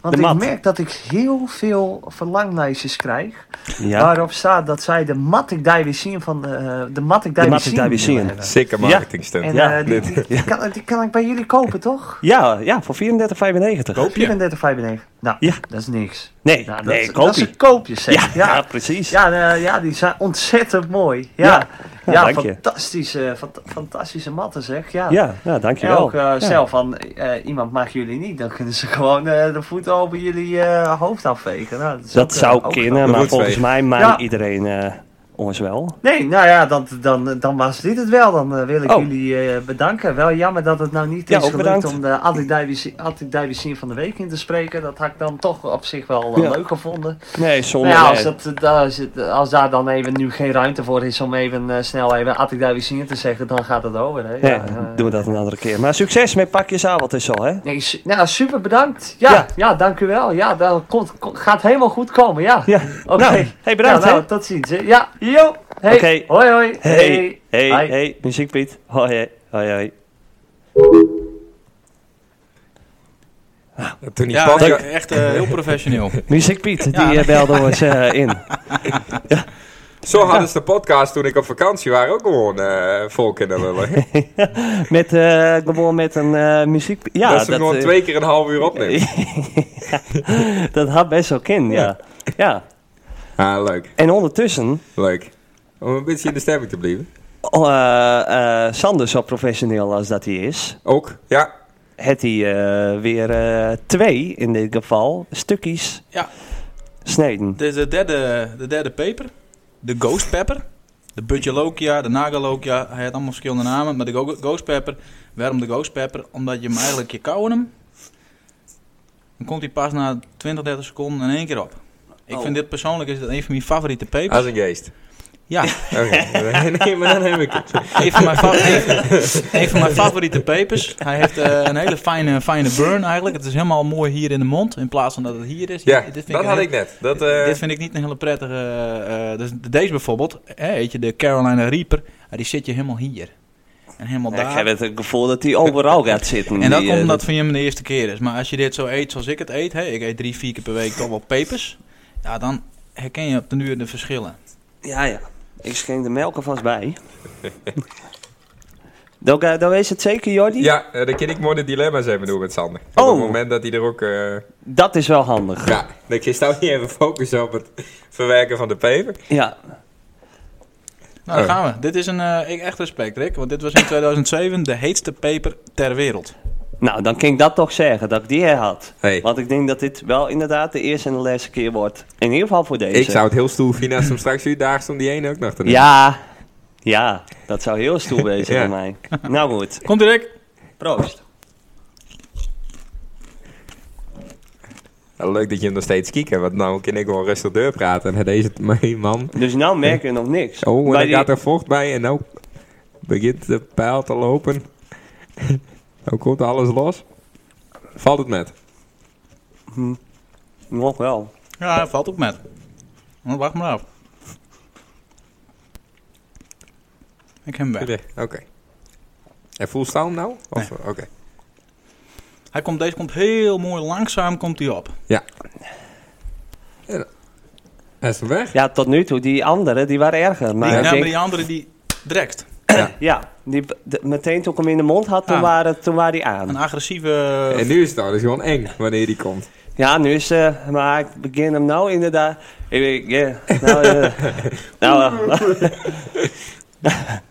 Speaker 7: Want
Speaker 1: Ah, de
Speaker 7: ik
Speaker 1: mat.
Speaker 7: merk dat ik heel veel verlanglijstjes krijg.
Speaker 1: Ja.
Speaker 7: Waarop staat dat zij de Matic Divisine van de, eh, de Matic
Speaker 1: Matic
Speaker 7: Divisine willen
Speaker 1: Divisine.
Speaker 7: hebben.
Speaker 2: Sikke marketingstunt.
Speaker 7: En
Speaker 1: Ja.
Speaker 7: eh, die, die- die kan, die kan ik bij jullie kopen, toch?
Speaker 1: Ja, ja, voor 34,95.
Speaker 3: Koop je?
Speaker 7: 34,95. Nou,
Speaker 1: Ja.
Speaker 7: dat is niks.
Speaker 1: Nee,
Speaker 7: Nou, dat,
Speaker 1: nee,
Speaker 7: dat
Speaker 1: koop
Speaker 7: is
Speaker 1: je.
Speaker 7: een koopje,
Speaker 1: Ja,
Speaker 7: zeg.
Speaker 1: ja,
Speaker 7: Ja,
Speaker 1: precies.
Speaker 7: ja. eh, ja, die zijn ontzettend mooi.
Speaker 1: Ja.
Speaker 7: Ja,
Speaker 1: Ja,
Speaker 7: ja,
Speaker 1: dank je.
Speaker 7: fantastische, fant- fantastische matten, zeg. Ja.
Speaker 1: Ja, ja,
Speaker 7: En
Speaker 1: dankjewel.
Speaker 7: ook eh,
Speaker 1: Ja.
Speaker 7: stel van, eh, iemand mag jullie niet, dan kunnen ze gewoon eh, de voeten over jullie eh, hoofd afvegen. Nou, dat is
Speaker 1: Dat
Speaker 7: ook, eh,
Speaker 1: zou
Speaker 7: ook
Speaker 1: kunnen,
Speaker 2: Dat
Speaker 1: maar
Speaker 2: moet
Speaker 1: volgens
Speaker 2: twee.
Speaker 1: mij maakt
Speaker 7: Ja.
Speaker 1: iedereen eh, ons wel.
Speaker 7: Nee, nou ja, dan, dan, dan was dit het wel. Dan eh, wil ik
Speaker 1: Oh.
Speaker 7: jullie eh, bedanken. Wel jammer dat het nou niet
Speaker 1: Ja,
Speaker 7: is
Speaker 1: ook
Speaker 7: gelukt
Speaker 1: bedankt.
Speaker 7: om de Anti-Divicine van de Week in te spreken. Dat had ik dan toch op zich wel eh,
Speaker 1: Ja.
Speaker 7: leuk gevonden.
Speaker 1: Nee, zonder.
Speaker 7: Nou ja, als,
Speaker 1: nee.
Speaker 7: dat, eh, als, het- als daar dan even nu geen ruimte voor is om even eh, snel even Anti-Divicine te zeggen, dan gaat het over. Hè? Ja,
Speaker 1: Nee,
Speaker 7: eh.
Speaker 1: doen we dat een andere keer. Maar succes met pakjes avond is al, hè?
Speaker 7: Nee, su- nou, super bedankt. Ja,
Speaker 1: Ja.
Speaker 7: ja. dank u wel. Ja, dat komt, komt- gaat helemaal goed komen. Ja,
Speaker 1: Ja.
Speaker 7: oké.
Speaker 1: Nou, hey, bedankt,
Speaker 7: Ja, nou,
Speaker 1: hè?
Speaker 7: tot ziens. hè. Ja, yo. Hey.
Speaker 1: Oké.
Speaker 7: Hoi, hoi.
Speaker 1: Hey, hey, hey,
Speaker 7: Hi.
Speaker 1: muziek Piet. Hoi, hoi, hoi, hoi.
Speaker 2: Toen die
Speaker 3: Ja,
Speaker 2: podcast-
Speaker 3: nee, echt eh, heel professioneel.
Speaker 1: Muziek Piet, die
Speaker 3: Ja.
Speaker 1: eh, belde ons eh, in.
Speaker 2: Zo hadden ze de podcast toen ik op vakantie was ook gewoon eh vol kunnen lullen.
Speaker 1: Met, eh, gewoon met een eh, muziek... Ja,
Speaker 2: dat ze hem gewoon
Speaker 1: eh,
Speaker 2: twee keer een half uur opnemen.
Speaker 1: dat had best wel kind, ja. ja.
Speaker 2: Ah, leuk,
Speaker 1: En ondertussen...
Speaker 2: leuk. Om een beetje in de stemming te blijven.
Speaker 1: oh, eh, eh, Sander, zo professioneel als dat hij is...
Speaker 2: Ook, ja.
Speaker 1: had hij eh, weer eh, twee, in dit geval, stukjes
Speaker 3: Ja.
Speaker 1: sneden.
Speaker 3: De, de, derde, de derde paper, de Ghost Pepper, de Budgelokia, de Nagalokia, hij had allemaal verschillende namen, maar de go- Ghost Pepper, waarom de Ghost Pepper? Omdat je hem eigenlijk, je kauwen hem, dan komt hij pas na 20, 30 seconden in één keer op. Ik vind dit persoonlijk is dat een van mijn favoriete papers.
Speaker 2: Als een geest.
Speaker 3: Ja,
Speaker 2: Oké, nee, maar dan heb ik het.
Speaker 3: een van mijn, fa- een- een van mijn favoriete papers. Hij heeft eh, een hele fijne, fijne burn eigenlijk. Het is helemaal mooi hier in de mond, in plaats van dat het hier is.
Speaker 2: Ja,
Speaker 3: Dit vind
Speaker 2: dat
Speaker 3: een
Speaker 2: had
Speaker 3: heel-
Speaker 2: ik net. Dat, eh,
Speaker 3: dit vind ik niet een hele prettige. eh, eh, dus deze bijvoorbeeld, hè, weet je, de Carolina Reaper, eh, die zit je helemaal hier. En helemaal
Speaker 1: Ik
Speaker 3: daar.
Speaker 1: heb het gevoel dat hij overal gaat zitten.
Speaker 3: En dat
Speaker 1: die,
Speaker 3: komt
Speaker 1: eh,
Speaker 3: omdat het van je hem de eerste keer is. Maar als je dit zo eet zoals ik het eet, hè, ik eet drie, vier keer per week toch wel pepers. Ja, dan herken je op de duur de verschillen.
Speaker 1: Ja, ja. Ik schenk de melk alvast bij. dan, ga- dan is het zeker, Jordi?
Speaker 2: ja, eh, dan kan ik mooi de dilemma's hebben doen met Sander. Op
Speaker 1: Oh.
Speaker 2: het moment dat hij er ook... eh,
Speaker 1: Dat is wel handig.
Speaker 2: ja, dan kun je nou niet even focussen op het verwerken van de peper.
Speaker 1: Ja.
Speaker 3: Nou, daar
Speaker 2: Oh.
Speaker 3: gaan we. Dit is een eh, ik echt respect, Rick. Want dit was in 2007 de heetste peper ter wereld.
Speaker 1: Nou, dan kan ik dat toch zeggen, dat ik die er had.
Speaker 2: Hey.
Speaker 1: Want ik denk dat dit wel inderdaad de eerste en de laatste keer wordt. In ieder geval voor deze.
Speaker 2: Ik zou het heel stoel vinden als hem straks uitdaagt om die ene ook nog te doen.
Speaker 1: Ja. Ja, dat zou heel stoel wezen
Speaker 2: Ja.
Speaker 1: voor mij. Nou goed.
Speaker 3: Komt ie, Rick?
Speaker 1: Proost.
Speaker 2: Nou, leuk dat je hem nog steeds kieken, want nou kan ik gewoon rustig deur praten. En deze mijn man.
Speaker 1: Dus nou merk je nog niks.
Speaker 2: Oh, en
Speaker 1: Maar
Speaker 2: dan
Speaker 1: die-
Speaker 2: gaat er vocht bij en nou begint de pijl te lopen. nou komt alles los. Valt het met?
Speaker 1: Nog wel.
Speaker 3: Ja, valt ook met. Maar Wacht maar af. Ik heb hem weg.
Speaker 2: Oké. En voel staan nou? Of- Oké.
Speaker 3: Hij komt, deze komt heel mooi langzaam komt hij op.
Speaker 2: Ja. En, hij is hem weg.
Speaker 1: Ja, tot nu toe, die anderen, die waren erger. Maar
Speaker 3: Die,
Speaker 1: ik
Speaker 3: ja,
Speaker 1: denk-
Speaker 3: maar die andere die direct.
Speaker 1: Ja, die, de- meteen toen ik hem in de mond had, toen,
Speaker 3: Ah.
Speaker 1: waren, toen waren die
Speaker 3: Een
Speaker 1: aan.
Speaker 3: agressieve...
Speaker 2: En nu is het nou dus gewoon eng wanneer die komt.
Speaker 1: Ja, nu is ze, maar ik begin hem nou inderdaad. Ik, weet- ja, nou, eh, nou, eh,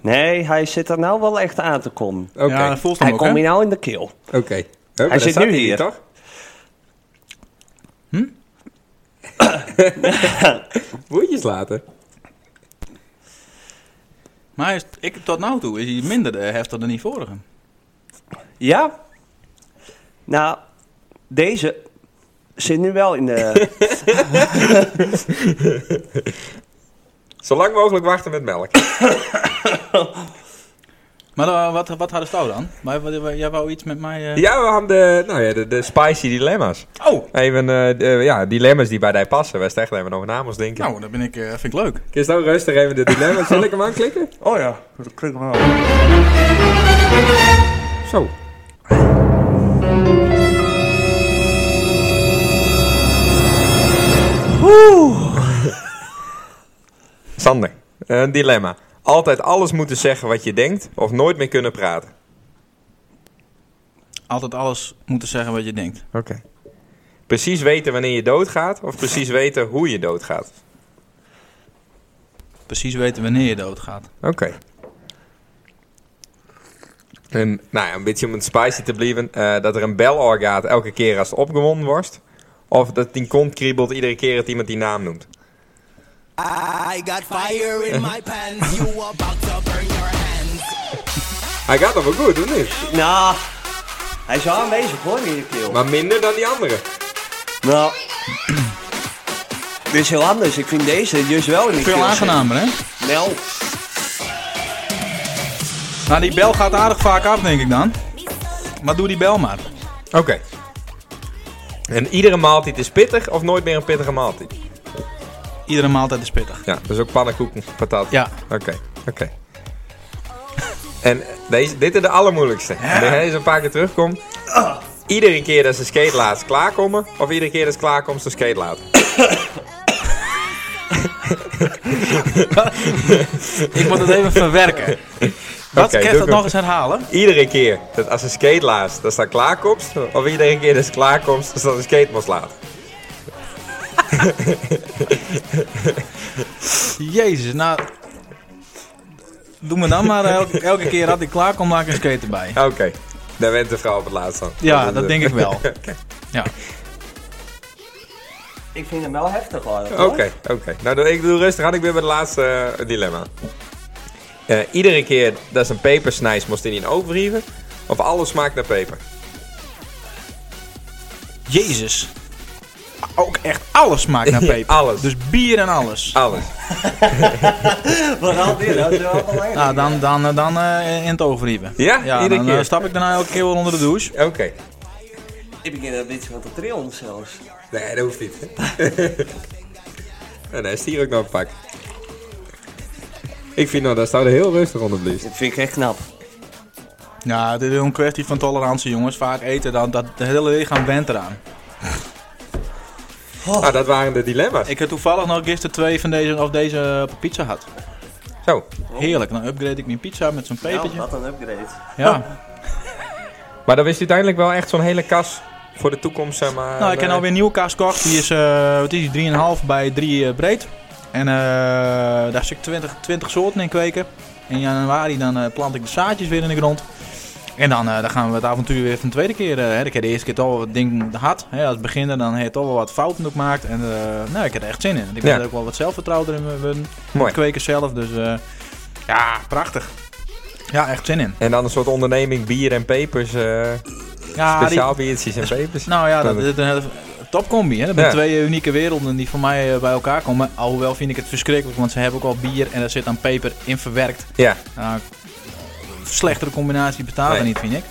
Speaker 1: Nee, hij zit er nou wel echt aan te komen.
Speaker 2: Oké,
Speaker 3: Ja, dat voelt hem
Speaker 1: Hij
Speaker 3: ook, hè?
Speaker 1: komt je nou in de keel.
Speaker 2: oké. Hup, daar
Speaker 1: zit
Speaker 2: staat
Speaker 1: nu hier.
Speaker 2: toch?
Speaker 3: Hm?
Speaker 2: Woordjes laten.
Speaker 3: Maar hij is, ik, tot nu toe is hij minder eh, heftig dan die vorige.
Speaker 1: Ja? Nou, deze zit nu wel in de...
Speaker 2: Zo lang mogelijk wachten met melk.
Speaker 3: Maar eh, wat, wat hadden ze nou dan? Maar, wat- wat- jij wou iets met mij... eh,
Speaker 2: Ja, we hadden de, nou ja, de, de spicy dilemma's.
Speaker 3: Oh,
Speaker 2: Even eh, de- ja, dilemma's die bij die passen. Wij echt even over namens denken. Nou.
Speaker 3: nou, dat ben ik, eh, vind ik leuk.
Speaker 2: Kun je nou rustig even de dilemma's? Zal ik hem aanklikken?
Speaker 1: Oh ja, dat klinkt wel.
Speaker 2: Zo. Sander, een dilemma. Altijd alles moeten zeggen wat je denkt of nooit meer kunnen praten.
Speaker 3: Altijd alles moeten zeggen wat je denkt.
Speaker 2: Oké. Precies weten wanneer je doodgaat of precies weten hoe je doodgaat.
Speaker 3: Precies weten wanneer je doodgaat.
Speaker 2: Oké. En nou ja, een beetje om het spicy te blijven, eh, dat er een bel oor gaat elke keer als het opgewonden wordt. Of dat die kont kriebelt iedere keer dat iemand die naam noemt.
Speaker 6: I got fire in my pants. You about to burn your hands.
Speaker 2: Hij gaat nog wel goed, of niet?
Speaker 1: Nou, hij is wel aanwezig hoor in je keel.
Speaker 2: Maar minder dan die andere.
Speaker 1: Nou, dit is heel anders. Ik vind deze juist wel in de keel.
Speaker 3: Veel aangenamer, hè?
Speaker 1: zitten. Nou,
Speaker 3: Nou, die bel gaat aardig vaak af, denk ik dan. Maar doe die bel maar.
Speaker 2: Oké. En iedere maaltijd is pittig of nooit meer een pittige maaltijd?
Speaker 3: Iedere maaltijd is pittig.
Speaker 2: Ja, dus ook pannenkoeken, patat.
Speaker 3: Ja.
Speaker 2: Oké, oké. En deze, dit is de allermoeilijkste. En Deze een paar keer terugkomt. Iedere keer dat ze skate laat klaarkomen, of iedere keer dat ze klaarkomt, ze skate laat.
Speaker 3: Ik moet het even verwerken. Wat,
Speaker 2: doe
Speaker 3: kan
Speaker 2: ik
Speaker 3: je dat
Speaker 2: hem.
Speaker 3: nog eens herhalen?
Speaker 2: Iedere keer dat als ze skate laat, dat ze dan klaarkomt, of iedere keer dat ze klaarkomt, dat ze dan een skate mos laat.
Speaker 3: Jezus, nou... Doe me dan maar elke, elke keer dat ik klaar kom, maak ik een skate erbij.
Speaker 2: Oké, daar went de vrouw op het laatst aan.
Speaker 3: Ja, dat denk ik wel. Ja.
Speaker 1: ik vind hem wel heftig hoor.
Speaker 2: Oké, oké. Nou, doe- ik doe rustig aan. Ik ben bij het laatste eh, dilemma. Eh, iedere keer dat ze een peper snijdt, moest hij niet overbrieven. Of alles smaakt naar peper.
Speaker 3: Jezus. Ook echt alles smaakt naar
Speaker 2: Ja,
Speaker 3: peper.
Speaker 2: alles.
Speaker 3: Dus bier en alles.
Speaker 2: Alles.
Speaker 1: Vooral dit, dat is wel belangrijk.
Speaker 3: Nou, dan, dan, eh, dan eh, in het overrieven.
Speaker 2: Ja?
Speaker 3: ja
Speaker 2: Iedere
Speaker 3: dan
Speaker 2: keer?
Speaker 3: eh, stap ik daarna elke keer wel onder de douche.
Speaker 2: Oké.
Speaker 1: Ik begin een beetje van te trillen zelfs.
Speaker 2: Nee, dat hoeft niet. en hij is hier ook nog een pak. Ik vind nou, daar staat er heel rustig onder, blieft.
Speaker 1: Dat vind ik echt knap.
Speaker 3: Ja, dit is een kwestie van tolerantie, jongens. Vaak eten, dan, dat het hele lichaam went eraan. Oh.
Speaker 2: Ah, dat waren de dilemma's.
Speaker 3: Ik heb toevallig nog gisteren twee van deze, of deze op pizza had.
Speaker 2: Zo.
Speaker 3: Heerlijk, dan upgrade ik mijn pizza met zo'n
Speaker 1: Oh. Nou,
Speaker 3: pepertje.
Speaker 1: wat een upgrade.
Speaker 3: Ja.
Speaker 2: Maar dan is uiteindelijk wel echt zo'n hele kas voor de toekomst, zeg maar.
Speaker 3: Nou, ik heb
Speaker 2: eh,
Speaker 3: alweer een nieuwe kaas gekocht. Die is, eh wat is die, 3,5 bij 3 eh, breed. En eh, daar zit ik 20, 20 soorten in kweken. In januari dan eh, plant ik de zaadjes weer in de grond. En dan, eh, dan gaan we het avontuur weer van de tweede keer. eh, hè. ik heb de eerste keer toch wel wat ding gehad. Hè, als beginner dan heb je toch wel wat fouten ook gemaakt. En eh, nou, ik heb er echt zin in. Ik ben
Speaker 2: Ja.
Speaker 3: er ook wel wat zelfvertrouwder in mijn- mijn
Speaker 2: Mooi.
Speaker 3: kweken zelf. Dus eh, ja, prachtig. Ja, echt zin in.
Speaker 2: En dan een soort onderneming bier en pepers. eh
Speaker 3: Ja, Ah, die-
Speaker 2: speciaal biertjes en pepers.
Speaker 3: Nou ja, dat is een hele topcombi. Hè? Dat zijn
Speaker 2: Ja.
Speaker 3: twee eh, unieke werelden die voor mij eh, bij elkaar komen. Alhoewel vind ik het verschrikkelijk, want ze hebben ook al bier en daar zit dan peper in verwerkt.
Speaker 2: Ja.
Speaker 3: Nou, slechtere combinatie bestaat er
Speaker 2: Nee.
Speaker 3: niet, vind ik.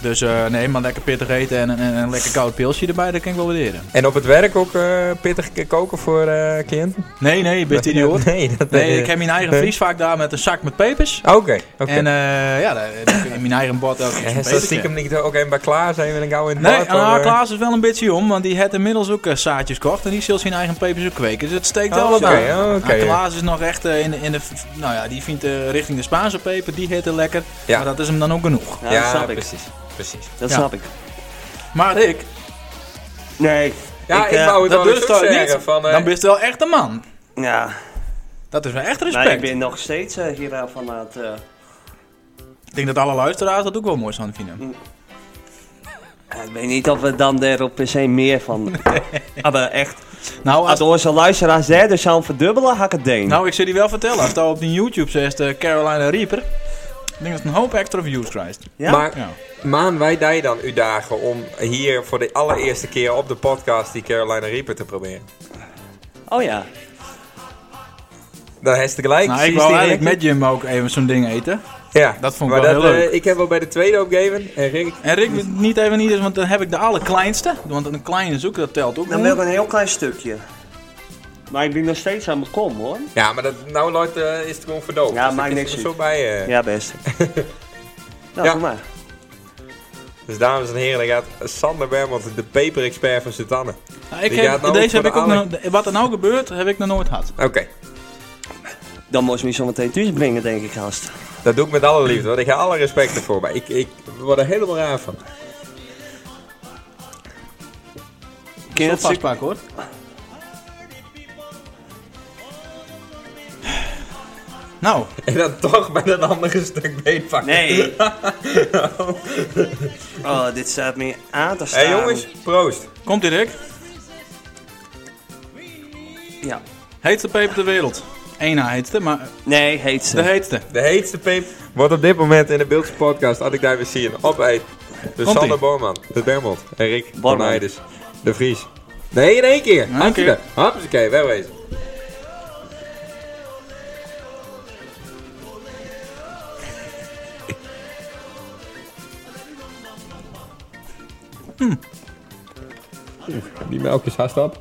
Speaker 3: Dus eh, nee, maar lekker pittig eten en, en, en een lekker koud pilsje erbij, dat kan ik wel waarderen.
Speaker 2: En op het werk ook eh, pittig k- koken voor eh, cliënten?
Speaker 3: Nee, nee, je bent idioot.
Speaker 2: Nee, dat eh,
Speaker 3: Nee, ik heb mijn eigen vriesvaak daar met een zak met pepers.
Speaker 2: Oké, oké.
Speaker 3: En eh, ja, daar- daar kun je in mijn eigen bord elke keer zo'n
Speaker 2: En zo
Speaker 3: pepertje.
Speaker 2: stiekem niet ook een bij klaar zijn we dan gauw in het
Speaker 3: Nee, ah,
Speaker 2: bad,
Speaker 3: en haar
Speaker 2: hoor.
Speaker 3: Klaas is wel een beetje om, want die had inmiddels ook eh, zaadjes gekocht en die zult zijn eigen pepers ook kweken. Dus het steekt wel
Speaker 2: Oh,
Speaker 3: wat
Speaker 2: oké,
Speaker 3: aan.
Speaker 2: oh, oké.
Speaker 3: En Klaas is nog echt eh, in, de- in de, nou ja, die vindt eh, richting de Spaanse peper, die hitte lekker.
Speaker 2: Ja.
Speaker 3: Maar dat is hem dan ook genoeg.
Speaker 1: Ja, dat
Speaker 2: Ja,
Speaker 1: snap ik.
Speaker 2: precies. precies.
Speaker 1: Dat
Speaker 3: Ja.
Speaker 1: snap ik.
Speaker 3: Maar Rick,
Speaker 1: Nee.
Speaker 2: Ja, ik,
Speaker 1: eh,
Speaker 2: wou het
Speaker 3: dat
Speaker 2: wel eens
Speaker 3: durft
Speaker 2: ook
Speaker 3: toch
Speaker 2: zeggen.
Speaker 3: niet?
Speaker 2: Van, eh,
Speaker 3: dan ben je wel echt een man.
Speaker 1: Ja.
Speaker 3: Dat is wel echt respect.
Speaker 1: Maar ik ben nog steeds eh, hier eh, van aan het... eh,
Speaker 3: Ik denk dat alle luisteraars dat ook wel mooi zouden vinden.
Speaker 1: Mm. ja, ik weet niet of we dan daar op per se meer van... Maar echt,
Speaker 3: Nou,
Speaker 1: als
Speaker 3: als,
Speaker 1: onze luisteraars daar dus zouden verdubbelen, had ik het deen.
Speaker 3: nou, ik zit die wel vertellen. Als dat op die YouTube zegt eh, Carolina Reaper. Ik denk dat het een hoop extra views krijgt.
Speaker 1: ja?
Speaker 2: Maar
Speaker 3: Ja.
Speaker 2: Maan, wij die dan u dagen om hier voor de allereerste keer op de podcast die Carolina Reaper te proberen.
Speaker 1: Oh ja.
Speaker 2: Dan heeft ze gelijk.
Speaker 3: Nou,
Speaker 2: Zie
Speaker 3: ik
Speaker 2: je
Speaker 3: wou
Speaker 2: die
Speaker 3: eigenlijk
Speaker 2: Rick?
Speaker 3: met Jim ook even zo'n ding eten.
Speaker 2: Ja,
Speaker 3: dat vond ik
Speaker 2: maar
Speaker 3: wel heel
Speaker 2: eh,
Speaker 3: leuk.
Speaker 2: ik heb wel bij de tweede opgegeven en Rick
Speaker 3: En Rick, niet even niet, eens, want dan heb ik de allerkleinste. Want een kleine zoek, dat telt ook.
Speaker 1: Dan
Speaker 3: niet.
Speaker 1: wil ik een heel klein stukje. Maar ik ben nog steeds aan mijn kom, hoor.
Speaker 2: Ja, maar dat, nou Lloyd, eh, is het gewoon verdoofd.
Speaker 1: Ja,
Speaker 2: Dus dat
Speaker 1: maakt
Speaker 2: is
Speaker 1: niks
Speaker 2: er
Speaker 1: uit.
Speaker 2: zo bij. eh.
Speaker 1: Ja, best. nou,
Speaker 2: Ja.
Speaker 1: doe maar.
Speaker 2: Dus dames en heren, daar gaat Sander Bermond, de paper-expert van Sutanne.
Speaker 3: Nou, ik
Speaker 2: Die
Speaker 3: heb,
Speaker 2: gaat nou
Speaker 3: deze
Speaker 2: voor
Speaker 3: heb ik
Speaker 2: de
Speaker 3: ook
Speaker 2: alle-
Speaker 3: nog, wat er nou gebeurt, heb ik nog nooit gehad.
Speaker 2: Oké,
Speaker 1: Dan moest je me zo meteen thuis brengen, denk ik, gast.
Speaker 2: dat doe ik met alle liefde, want ik ga alle respect ervoor. Maar ik, ik word er helemaal raar van.
Speaker 1: Ken je
Speaker 3: Zo
Speaker 1: dat stuk-
Speaker 3: vastpakken hoor. Nou,
Speaker 2: En dan toch met een ander stuk been pakken.
Speaker 1: Nee. oh, dit staat meer aan te
Speaker 2: Hé
Speaker 1: staan.
Speaker 2: hey, jongens, proost.
Speaker 3: komt ie Rick.
Speaker 1: Ja.
Speaker 3: Heetste peper ter wereld. Eén na heetste, maar
Speaker 1: Nee, heet ze.
Speaker 3: de heetste.
Speaker 2: De heetste peper wordt op dit moment in de Beeldse podcast, had ik daar weer zien, opeet. Dus
Speaker 3: Komt-ie.
Speaker 2: Sander Borman, de Bermond en Rick van
Speaker 1: Borman.
Speaker 2: Heides, dus de Vries. Nee, in één keer.
Speaker 3: één
Speaker 2: Hartstikke. Hartstikke, wegwezen. Hm. Die melk is haast op.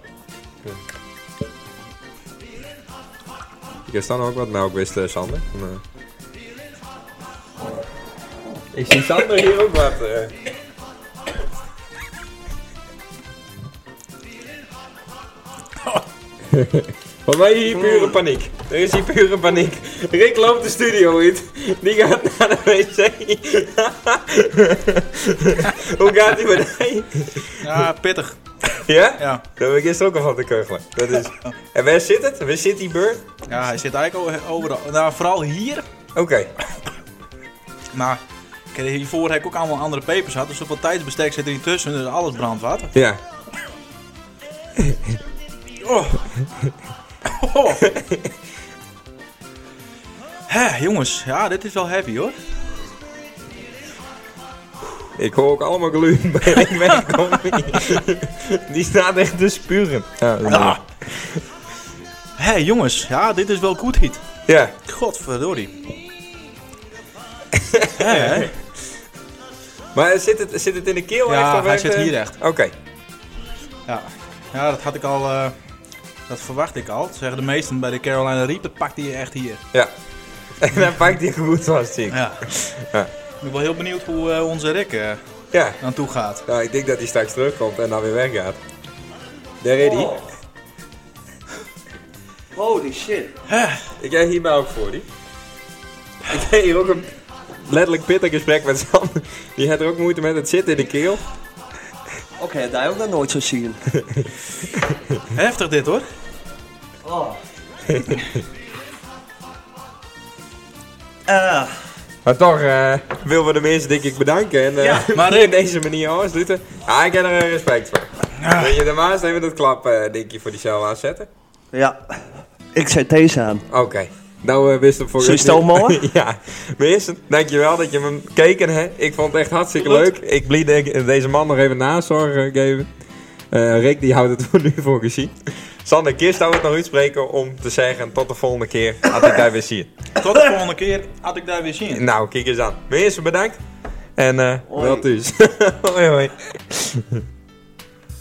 Speaker 2: Ik heb dan ook wat melk wist, eh, Sander. En, eh, Ik zie Sander hier ook wat. eh. Voor mij hier pure paniek. Er is hier pure paniek. Rick loopt de studio in. Die gaat naar de wc. Hoe gaat hij met hij?
Speaker 3: Ja, pittig.
Speaker 2: Ja?
Speaker 3: Ja.
Speaker 2: Daar ben ik gisteren ook al van te keugelen. Dat is... En waar zit het? Waar zit die beurt?
Speaker 3: Ja, hij zit eigenlijk o- overal. Nou, vooral hier.
Speaker 2: Oké.
Speaker 3: Maar ik heb hiervoor heb ik ook allemaal andere pepers gehad. Dus op wat tijdsbestek zit er niet tussen. Dus alles brandwater.
Speaker 2: Ja.
Speaker 3: Oh. Oh. Hè, jongens. Ja, dit is wel heavy hoor.
Speaker 2: Ik hoor ook allemaal geluiden bij Rick wegkomen. die staat echt te spuren. Ja. dat is-
Speaker 3: Ah. Hé hey, jongens, ja, dit is wel goed hit.
Speaker 2: ja.
Speaker 3: Godverdorie. Hé, hè?
Speaker 2: Maar zit het, zit het in de keel
Speaker 3: Ja,
Speaker 2: echt? of
Speaker 3: hij
Speaker 2: echt,
Speaker 3: zit
Speaker 2: eh?
Speaker 3: hier echt.
Speaker 2: Oké.
Speaker 3: Ja. ja, dat had ik al. eh, dat verwacht ik al. Zeggen de meesten bij de Carolina Reaper pakt hij echt hier.
Speaker 2: Ja. En dan pakt hij goed vast, zie ik.
Speaker 3: Ja.
Speaker 2: Ja.
Speaker 3: Ik ben wel heel benieuwd hoe eh, onze Rick eh
Speaker 2: Ja.
Speaker 3: aan toe gaat.
Speaker 2: Nou, ik denk dat hij straks terugkomt en dan weer weggaat. Daar reed
Speaker 3: Oh.
Speaker 2: hij.
Speaker 1: Holy shit.
Speaker 2: Ik krijg hier mij ook voor, die. Ik kreeg hier ook een letterlijk pittig gesprek met Sam. Die had er ook moeite met het zitten in de keel.
Speaker 1: Oké, okay, dat heb ik nog nooit zo zien.
Speaker 3: Heftig dit hoor.
Speaker 1: Oh. Eh,
Speaker 2: Maar toch eh willen we de mensen denk ik bedanken. En eh
Speaker 3: Ja, maar
Speaker 2: die op
Speaker 3: Rick-
Speaker 2: deze manier afsluiten. Ja, ik heb er eh, respect voor. Wil je daarnaast even dat klap eh denk je voor die cel aanzetten?
Speaker 1: ja. Ik zet deze aan.
Speaker 2: Oké. Nou, eh, wist hem voor
Speaker 1: Zullen we het
Speaker 2: niet-
Speaker 1: stomen, hoor?
Speaker 2: ja. Meersen, dankjewel dat je me keken hè. Ik vond het echt hartstikke leuk. Ik blieb denk- deze man nog even nazorg eh, geven. Eh, Rick, die houdt het voor nu voor gezien. Sander, Kirst zou het nog uitspreken om te zeggen tot de volgende keer. Had ik daar weer zien.
Speaker 3: Tot de volgende keer had ik daar weer zin in.
Speaker 2: Nou, kijk eens aan. Meersen, bedankt. En eh wel thuis. hoi hoi.